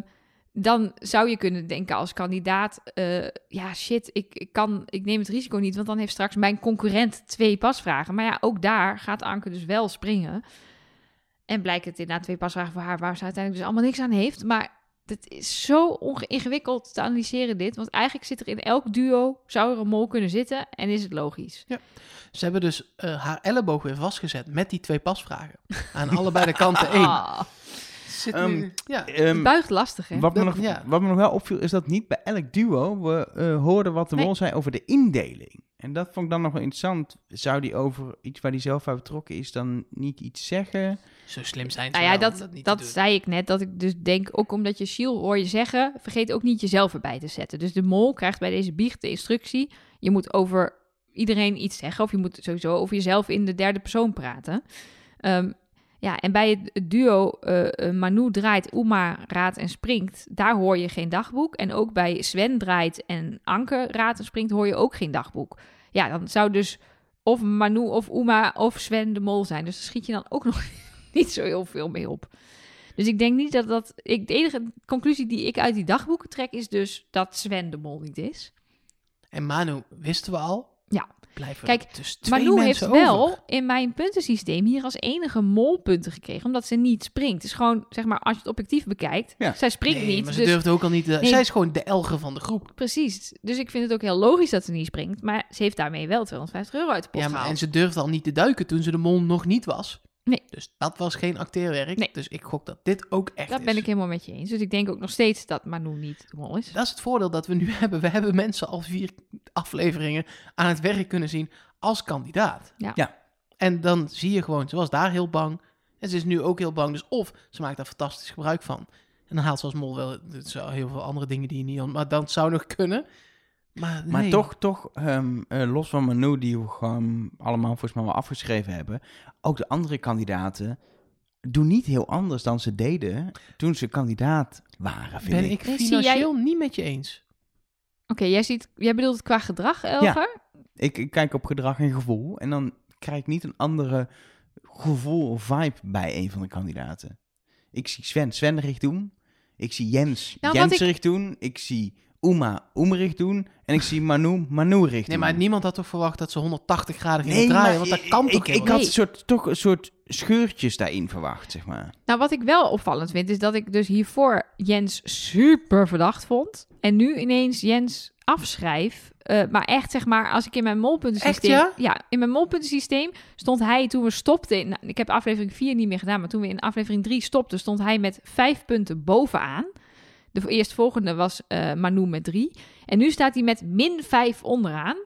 A: dan zou je kunnen denken als kandidaat: eh, ja, shit, ik, ik, kan, ik neem het risico niet, want dan heeft straks mijn concurrent twee pasvragen. Maar ja, ook daar gaat Anke dus wel springen. En blijkt het inderdaad twee pasvragen voor haar, waar ze uiteindelijk dus allemaal niks aan heeft. Maar het is zo onge- ingewikkeld te analyseren dit. Want eigenlijk zit er in elk duo, zou er een mol kunnen zitten en is het logisch.
C: Ze hebben dus eh, haar elleboog weer vastgezet met die twee pasvragen. Aan allebei de kanten één.
A: Ah, Nou
C: Zit
B: Ehm,
C: nu- ja.
A: het buigt lastig, hè?
B: wat, me
C: Dat-
B: nog,
C: ja.
B: wat me nog wel opviel, is dat niet bij elk duo we eh, hoorden wat de
A: Nee.
B: mol zei over de indeling. En dat vond ik dan nog wel interessant. Zou die over iets waar die zelf bij betrokken is dan niet iets zeggen?
C: Zo slim zijn ze
A: Nou ja,
C: wel om
A: dat, dat,
C: niet te doen.
A: zei ik net. Dat ik dus denk, ook omdat je Shield hoor je zeggen... vergeet ook niet jezelf erbij te zetten. Dus de mol krijgt bij deze biecht de instructie... je moet over iedereen iets zeggen... of je moet sowieso over jezelf in de derde persoon praten. Ehm, ja, en bij het- het duo eh, eh, Manu draait, Uma raadt en springt... daar hoor je geen dagboek. En ook bij Sven draait en Anke raadt en springt... hoor je ook geen dagboek. Ja, dan zou dus of Manu of Uma of Sven de mol zijn. Dus daar schiet je dan ook nog niet zo heel veel mee op. Dus ik denk niet dat dat... Ik, de enige conclusie die ik uit die dagboeken trek is dus dat Sven de mol niet is.
C: En Manu, wisten we al?
A: Ja.
C: Blijven
A: Kijk,
C: Kijk, dus twee
A: Maar Lou heeft
C: mensen over.
A: wel in mijn puntensysteem hier als enige molpunten gekregen. Omdat ze niet springt. Het is gewoon, zeg maar, als je het objectief bekijkt.
B: Ja.
A: Zij springt
C: Nee,
A: niet.
C: maar
A: Dus
C: ze durfde ook al niet... de-
A: Nee.
C: Zij is gewoon de elge van de groep.
A: Precies. Dus ik vind het ook heel logisch dat ze niet springt. Maar ze heeft daarmee wel 250 euro uit de pot
C: Ja, maar,
A: gehaald.
C: en ze durfde al niet te duiken toen ze de mol nog niet was.
A: Nee.
C: Dus dat was geen acteerwerk.
A: Nee.
C: Dus ik gok dat dit ook echt
A: Dat
C: is.
A: ben ik helemaal met je eens. Dus ik denk ook nog steeds dat Manu niet de mol is.
C: Dat is het voordeel dat we nu hebben. We hebben mensen al vier afleveringen aan het werk kunnen zien als kandidaat.
A: Ja.
B: Ja.
C: En dan zie je gewoon, ze was daar heel bang. En ze is nu ook heel bang. Dus of ze maakt daar fantastisch gebruik van. En dan haalt ze als mol wel het zou heel veel andere dingen die je niet... aan- Maar dat zou nog kunnen. Maar,
B: Maar
C: nee.
B: toch, toch ehm, eh, los van Manu, die we gewoon allemaal volgens mij wel afgeschreven hebben. Ook de andere kandidaten doen niet heel anders dan ze deden toen ze kandidaat waren, vind
C: ben
B: ik.
C: ik
A: Nee, zie
C: financieel niet met je eens.
A: Oké, jij, ziet- jij bedoelt het qua gedrag, Elger?
B: ik. ik kijk op gedrag en gevoel en dan krijg ik niet een andere gevoel of vibe bij een van de kandidaten. Ik zie Sven Svenrig doen. Ik zie Jens
A: Nou, wat ik-
B: Jenserig doen. Ik zie Uma Oemerig doen. En ik zie Manu Manurig doen.
C: Nee, maar niemand had toch verwacht dat ze 180 graden gingen
B: Hmm.
C: draaien.
B: maar
C: Want
B: ik-
C: dat kan
B: ik,
C: toch
B: ik,
C: helemaal
B: had
A: Nee.
B: een soort, toch een soort scheurtjes daarin verwacht, zeg maar.
A: Nou, wat ik wel opvallend vind, is dat ik dus hiervoor Jens super verdacht vond. En nu ineens Jens afschrijf. Eh, maar echt, zeg maar, als ik in mijn molpuntensysteem...
C: Echt,
A: in mijn molpuntensysteem stond hij toen we stopten... in- nou, ik heb aflevering 4 niet meer gedaan, maar toen we in aflevering 3 stopten... stond hij met vijf punten bovenaan. De eerstvolgende was eh Manu met drie. En nu staat hij met min vijf onderaan.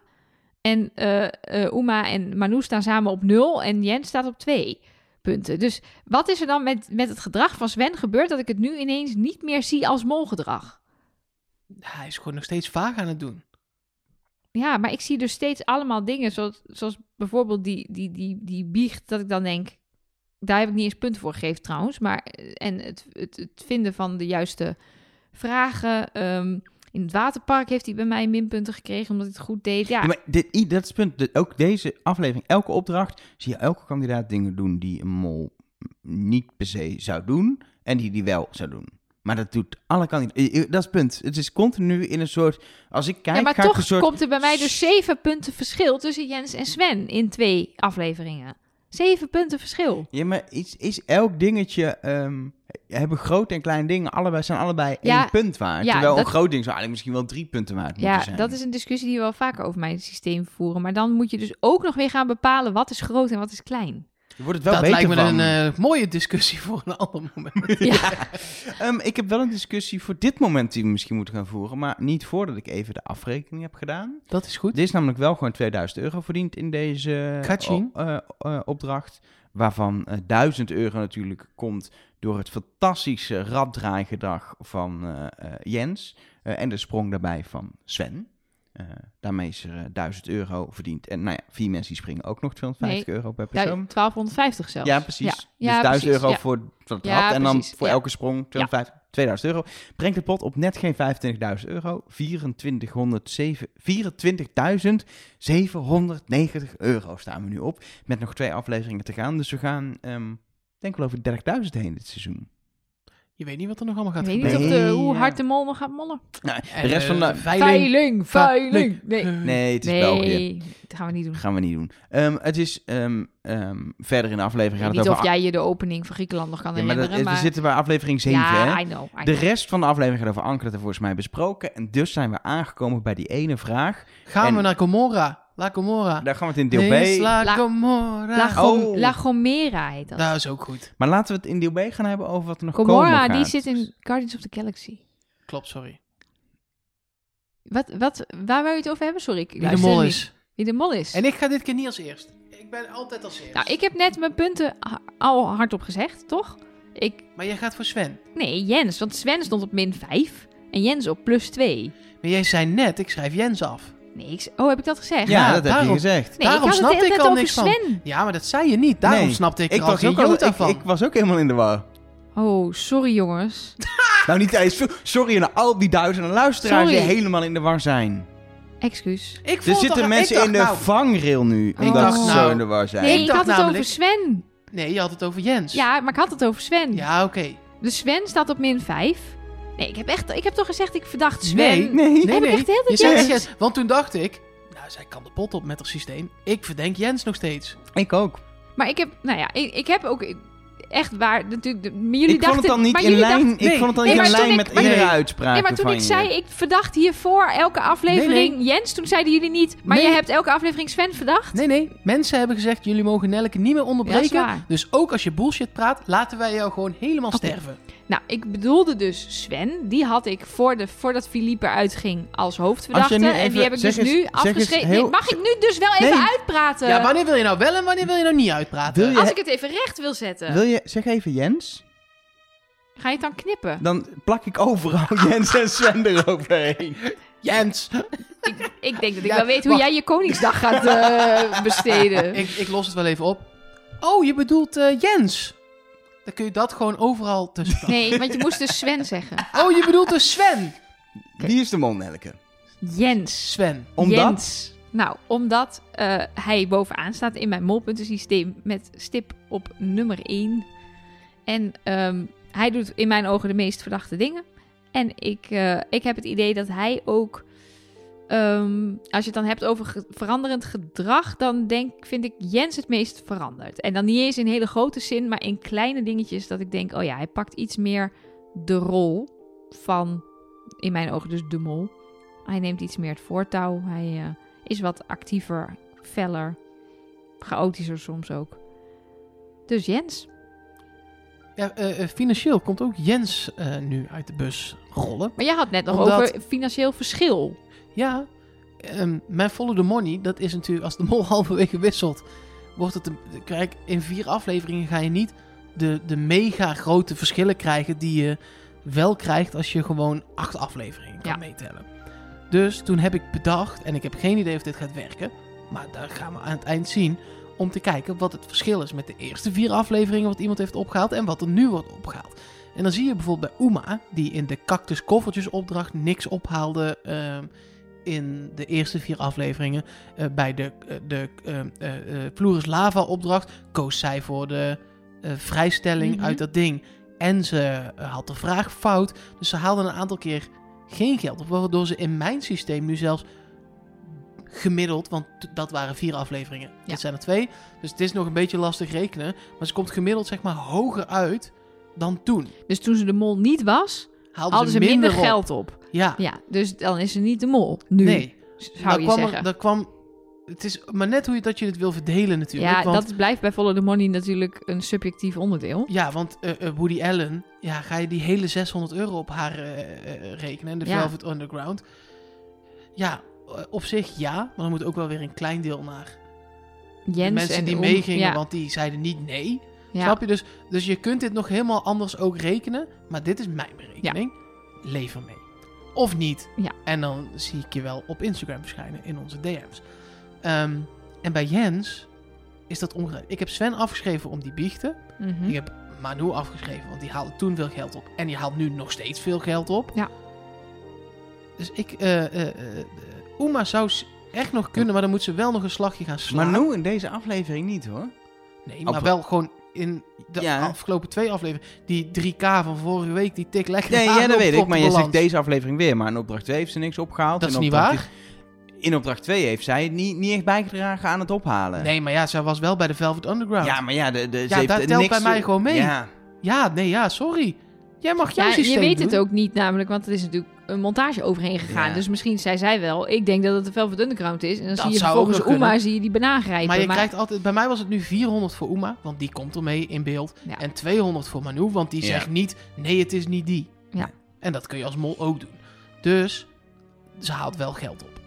A: En eh eh, Uma en Manu staan samen op nul. En Jens staat op twee punten. Dus wat is er dan met, met het gedrag van Sven gebeurd... dat ik het nu ineens niet meer zie als molgedrag?
C: Hij is gewoon nog steeds vaag aan het doen.
A: Ja, maar ik zie dus steeds allemaal dingen... zoals, zoals bijvoorbeeld die, die, die, die biecht... dat ik dan denk... daar heb ik niet eens punten voor gegeven trouwens... maar eh, en het, het, het vinden van de juiste vragen... ehm, in het waterpark heeft hij bij mij minpunten gekregen... omdat hij het goed deed. Ja,
B: Ja, maar dit, i- dat is het punt. Dat ook deze aflevering, elke opdracht, zie je elke kandidaat dingen doen die een mol niet per se zou doen. En die die wel zou doen. Maar dat doet alle kandidaten. Dat is het punt. Het is continu in een soort. Als ik kijk,
A: ja, maar
B: ga ik
A: toch
B: een soort.
A: komt er bij mij dus zeven punten verschil tussen Jens en Sven in twee afleveringen. Zeven punten verschil.
B: Ja, maar is, is elk dingetje. ehm, hebben grote en kleine dingen. Allebei, zijn allebei
A: Ja,
B: één punt waard.
A: ja,
B: terwijl
A: dat-
B: een groot ding zou eigenlijk misschien wel drie punten waard moeten
A: Ja,
B: zijn.
A: dat is een discussie die we wel vaker over mijn systeem voeren. Maar dan moet je dus ook nog weer gaan bepalen wat is groot en wat is klein.
B: Je wordt het wel
C: dat
B: beter
C: lijkt me
B: van.
C: een eh, mooie discussie voor een ander moment.
B: Ehm, ik heb wel een discussie voor dit moment die we misschien moeten gaan voeren, maar niet voordat ik even de afrekening heb gedaan.
C: Dat is goed.
B: Dit is namelijk wel gewoon 2000 euro verdiend in deze
C: Kaching.
B: o- eh, eh, opdracht, waarvan eh 1000 euro natuurlijk komt door het fantastische raddraaigedrag van eh, eh, Jens eh, en de sprong daarbij van Sven. Eh, daarmee is er eh, 1000 euro verdiend. En nou ja, vier mensen die springen ook nog 250 euro per
A: Du-
B: persoon.
A: 1250 zelfs.
B: Ja, precies.
A: Ja,
B: dus
A: ja,
B: 1000
A: precies,
B: euro
A: ja.
B: voor voor het
A: Ja,
B: rad en dan
A: precies,
B: voor
A: ja.
B: elke sprong 250, 2000 euro. Brengt de pot op net geen 25.000 euro. 2407 24.790 euro staan we nu op. Met nog twee afleveringen te gaan. Dus we gaan, ehm denk wel over 30.000 heen dit seizoen.
C: Je weet niet wat er nog allemaal
A: Ik
C: gaat
A: weet niet
C: gebeuren.
A: of de,
B: Nee,
A: hoe
B: ja.
A: hard de mol nog gaat mollen.
B: Nou,
C: En,
B: de rest van
C: eh,
B: de...
C: veiling.
A: Veiling, veiling. Nee,
B: Nee, het is België.
A: nee dat gaan we niet doen.
B: Gaan we niet doen. Ehm, het is ehm, ehm, verder in de aflevering gaat
A: niet
B: het
A: of
B: over...
A: jij je de opening van Griekenland nog kan
B: Ja, maar dat-
A: herinneren. maar
B: we zitten bij aflevering 7, hè?
A: ja, I know. I
B: De
A: know.
B: rest van de aflevering gaat over Anker, dat hebben we volgens mij besproken. En dus zijn we aangekomen bij die ene vraag.
C: Gaan we
B: En-
C: naar Gomorra? La
A: Ah.
C: Gomorra.
B: Daar gaan we het in deel
C: Nee,
B: B...
C: La
A: La-
C: Gomorra.
A: La, Gom-
B: Oh.
A: La Gomera heet dat.
C: Dat is ook goed.
B: Maar laten we het in deel B gaan hebben over wat er nog komen
A: Gomorra,
B: gaat.
A: die zit in Guardians of the Galaxy.
C: Klopt, sorry.
A: Wat, wat, waar wil je het over hebben? Sorry, ik
C: Wie de
A: luister
C: mol
A: niet.
C: is.
A: Wie de mol is.
C: En ik ga dit keer niet als eerst. Ik ben altijd als eerst.
A: Nou, ik heb net mijn punten ha- al hardop gezegd, toch? Ik,
C: Maar jij gaat voor Sven.
A: nee, Jens. Want Sven stond op min 5 en Jens op plus 2.
C: Maar jij zei net, ik schrijf Jens af.
A: Nee, ik, z- oh, heb ik dat gezegd?
B: Ja,
C: Ja,
B: dat heb je
C: daarom.
B: gezegd.
A: Nee,
C: Daarom
A: ik had
C: snap
A: het de hele tijd
C: ik al
A: over
C: niks van.
A: Sven.
C: Ja, maar dat zei je niet. Daarom
B: Nee,
C: snapte ik,
B: Ik
C: er al
B: was,
C: geen
B: ook al,
C: jota
B: ik,
C: van.
B: ik was ook helemaal in de war.
A: Oh, sorry jongens.
B: Nou, niet eens. Sorry naar al die duizenden luisteraars die
A: Sorry.
B: helemaal in de war zijn.
A: Excuus.
C: Ik
B: Er
C: vond
B: zitten
C: toch- ik
B: mensen
C: dacht,
B: in de
C: nou,
B: vangrail nu,
A: Oh.
B: omdat
A: dacht,
B: ze zo
C: nou,
B: in de war zijn.
A: Nee,
C: ik
A: ik
C: dacht
A: had het
C: namelijk-
A: over Sven.
C: Nee, je had het over Jens.
A: Ja, maar ik had het over Sven.
C: Ja, oké.
A: Dus Sven staat op min 5. Nee, ik heb, echt, ik heb toch gezegd, ik verdacht Sven.
C: Nee,
B: nee.
A: heb ik echt de hele
C: Je
A: tijd
C: zei
A: Jens.
C: Jens. Want toen dacht ik, nou, zij kan de pot op met haar systeem. Ik verdenk Jens nog steeds.
B: Ik ook.
A: Maar ik heb, nou ja, ik, ik heb ook ik- echt waar, natuurlijk, de- maar jullie
B: ik vond het
A: dachten-
B: dan niet
A: maar
B: in
A: jullie
B: lijn,
A: dachten-
B: ik
C: nee,
B: vond het dan
A: nee,
B: niet in
A: maar toen
B: lijn
A: ik-
B: met
A: maar-
B: eerdere
C: nee.
B: uitspraken
A: Nee, maar toen
B: van
A: ik
B: je.
A: zei, ik verdacht hiervoor elke aflevering
C: Nee,
A: Jens, toen zeiden jullie niet, maar
C: Nee.
A: je hebt elke aflevering Sven verdacht?
C: Nee, nee. Mensen hebben gezegd, jullie mogen Nelke niet meer
A: Ja, dat
C: onderbreken.
A: is waar.
C: dus ook als je bullshit praat, laten wij jou gewoon helemaal
A: Oké.
C: sterven.
A: Nou, ik bedoelde dus Sven, die had ik voor de, voordat Philippe eruit ging als
B: Als
A: hoofdverdachte.
B: je nu
A: en
B: even-
A: die heb ik
B: zeg
A: dus
B: eens-
A: nu
B: zeg eens
A: afgeschreven. Nee,
B: heel-
A: mag ik nu dus wel even
B: Nee.
A: uitpraten?
C: Ja, wanneer wil je nou wel en wanneer wil je nou niet uitpraten?
B: Wil je-
A: Als ik het even recht wil zetten,
B: Wil je, zeg even Jens,
A: ga je het dan knippen?
B: dan plak ik overal Jens en Sven eroverheen.
C: Jens!
A: Ik denk dat ik
C: Ja,
A: wel weet hoe
C: wacht.
A: jij je Koningsdag gaat eh, besteden.
C: Ik, ik los het wel even op. Oh, je bedoelt eh, Jens. Dan kun je dat gewoon overal tussen.
A: Nee, want je moest dus Sven zeggen.
C: Oh, je bedoelt dus Sven.
B: Wie is de mol, Nelke?
A: Jens.
C: Sven.
B: Omdat?
A: Jens. Nou, omdat eh, hij bovenaan staat in mijn molpuntensysteem met stip op nummer 1. En ehm, hij doet in mijn ogen de meest verdachte dingen. En ik, eh, ik heb het idee dat hij ook. ehm, als je het dan hebt over ge- veranderend gedrag, dan denk, vind ik Jens het meest veranderd. En dan niet eens in hele grote zin, maar in kleine dingetjes dat ik denk: oh ja, hij pakt iets meer de rol van, in mijn ogen dus de mol. Hij neemt iets meer het voortouw. Hij eh, is wat actiever, feller, chaotischer soms ook. Dus Jens,
C: Ja, eh, eh, financieel komt ook Jens eh, nu uit de bus rollen.
A: maar jij had net nog
C: Omdat-
A: over financieel verschil.
C: Ja, ehm, mijn follow the money, dat is natuurlijk als de mol halverwege wisselt, wordt het een, kijk, in vier afleveringen ga je niet de, de mega grote verschillen krijgen die je wel krijgt als je gewoon acht afleveringen kan
A: Ja.
C: meetellen. Dus toen heb ik bedacht, en ik heb geen idee of dit gaat werken, maar daar gaan we aan het eind zien, om te kijken wat het verschil is met de eerste vier afleveringen wat iemand heeft opgehaald en wat er nu wordt opgehaald. En dan zie je bijvoorbeeld bij Uma, die in de cactus koffertjes opdracht niks ophaalde ehm, in de eerste vier afleveringen. Eh, bij de, eh, de ehm, eh, eh, Floris Lava opdracht koos zij voor de eh, vrijstelling
A: Mhm.
C: uit dat ding. En ze eh, had de vraag fout, dus ze haalde een aantal keer geen geld op. Waardoor ze in mijn systeem nu zelfs gemiddeld, want t- dat waren vier afleveringen.
A: Ja.
C: Dit zijn er twee, dus het is nog een beetje lastig rekenen. Maar ze komt gemiddeld zeg maar hoger uit dan toen.
A: Dus toen ze de mol niet was,
C: Haalden,
A: hadden ze minder,
C: op.
A: geld op.
C: Ja,
A: Ja, dus dan is ze niet de mol. Nu,
C: nee.
A: zou je
C: kwam er-
A: zeggen.
C: daar kwam, het is maar net hoe je dat je het wil verdelen natuurlijk.
A: ja,
C: want,
A: dat blijft bij Follow the Money natuurlijk een subjectief onderdeel.
C: ja, want eh, eh, Woody Allen, ja, ga je die hele 600 euro op haar eh, eh, rekenen, de
A: Ja.
C: Velvet Underground. Ja, eh, op zich ja, maar dan moet ook wel weer een klein deel naar de
A: Jens
C: mensen
A: en
C: die
A: Om-
C: meegingen,
A: ja,
C: want die zeiden niet nee.
A: ja.
C: Snap je? Dus, dus je kunt dit nog helemaal anders ook rekenen. Maar dit is mijn berekening. Leef ermee. Of niet.
A: Ja.
C: En dan zie ik je wel op Instagram verschijnen in onze DM's. Ehm, en bij Jens is dat ongelijk. Ik heb Sven afgeschreven om die biechten.
A: Mhm.
C: Ik heb Manu afgeschreven, want die haalde toen veel geld op. En die haalt nu nog steeds veel geld op.
A: Ja.
C: Dus ik... eh eh, eh, eh, Oema zou s- echt nog kunnen, maar dan moet ze wel nog een slagje gaan slaan.
B: Maar nu in deze aflevering niet hoor.
C: Nee, maar
B: Op-
C: wel gewoon in de
B: Ja.
C: afgelopen twee afleveringen. Die 3K van vorige week, die tik lekker
B: Nee,
C: aan
B: ja, dat
C: op-
B: weet
C: op
B: ik.
C: de
B: Maar je zegt
C: balans.
B: deze aflevering weer. Maar in opdracht 2 heeft ze niks opgehaald.
C: Dat is
B: In
C: niet
B: opdracht
C: waar.
B: drie- In opdracht 2 heeft zij het niet, niet echt bijgedragen aan het ophalen.
C: Nee, maar ja, zij was wel bij de Velvet Underground.
B: eh, Ja,
C: Ja,
B: maar ja, de, de, ze
C: Ja,
B: heeft
C: daar
B: er
C: telt
B: niks
C: bij mij
B: te-
C: gewoon mee.
B: Ja,
C: nee, ja, sorry. Jij mag jouw
A: Ja,
C: systeem
A: je weet het
C: doen.
A: ook niet namelijk, want er is natuurlijk een montage overheen gegaan.
B: Ja.
A: Dus misschien zei zij wel, ik denk dat het de Velvet Underground is. En dan
C: Dat
A: zie je
C: zou ook
A: vervolgens
C: nog kunnen.
A: Uma, zie je die banaan grijpen.
C: Maar je krijgt altijd... Bij mij was het nu 400 voor Uma, want die komt ermee in beeld.
A: Ja.
C: En 200 voor Manu, want die
B: Ja.
C: zegt niet... Nee, het is niet die.
A: Ja.
C: En dat kun je als mol ook doen. Dus ze haalt wel geld op.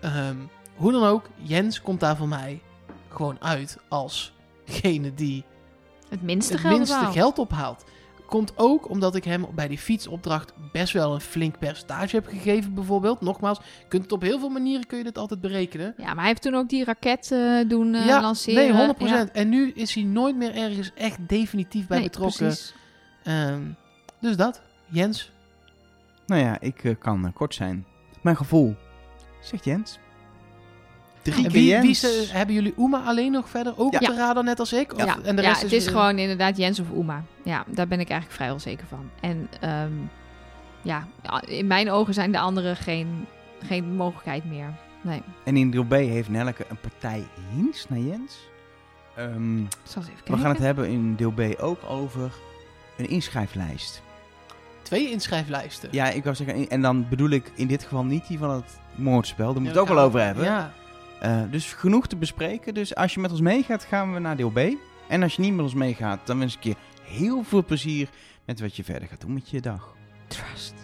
C: Ehm, hoe dan ook, Jens komt daar voor mij gewoon uit als gene die
A: het minste
C: het
A: geld
C: minste
A: wel.
C: geld ophaalt. Komt ook omdat ik hem bij die fietsopdracht best wel een flink percentage heb gegeven, bijvoorbeeld. Nogmaals, je kunt het op heel veel manieren kun je dit altijd berekenen.
A: Ja, maar hij heeft toen ook die raket eh, doen eh, lanceren.
C: nee, 100
A: Ja.
C: En nu is hij nooit meer ergens echt definitief bij
A: Nee,
C: betrokken.
A: precies.
C: Ehm, dus dat, Jens.
B: nou ja, ik eh, kan eh, kort zijn. Mijn gevoel. Zegt Jens. Drie
C: En
B: keer
C: wie,
B: Jens.
C: wie ze- hebben jullie Oema alleen nog verder? Ook
B: Ja.
C: op de radar, net als ik? Of-
A: Ja,
C: en de
A: ja,
C: rest
A: het is
C: eh,
A: gewoon inderdaad Jens of Uma. Ja, daar ben ik eigenlijk vrijwel zeker van. En ehm, ja, in mijn ogen zijn de anderen geen, geen mogelijkheid meer.
B: En in deel B heeft Nelke een partij hints naar Jens. Ehm,
A: Ik zal eens even kijken.
B: we gaan het hebben in deel B ook over een inschrijflijst.
C: twee inschrijflijsten.
B: Ja, ik wou zeggen, en dan bedoel ik in dit geval niet die van het moordspel. Daar
C: Ja,
B: moet het ook wel over hebben.
C: Ja.
B: Eh, dus genoeg te bespreken. Dus als je met ons meegaat, gaan we naar deel B. En als je niet met ons meegaat, dan wens ik je heel veel plezier met wat je verder gaat doen met je dag.
A: Trust.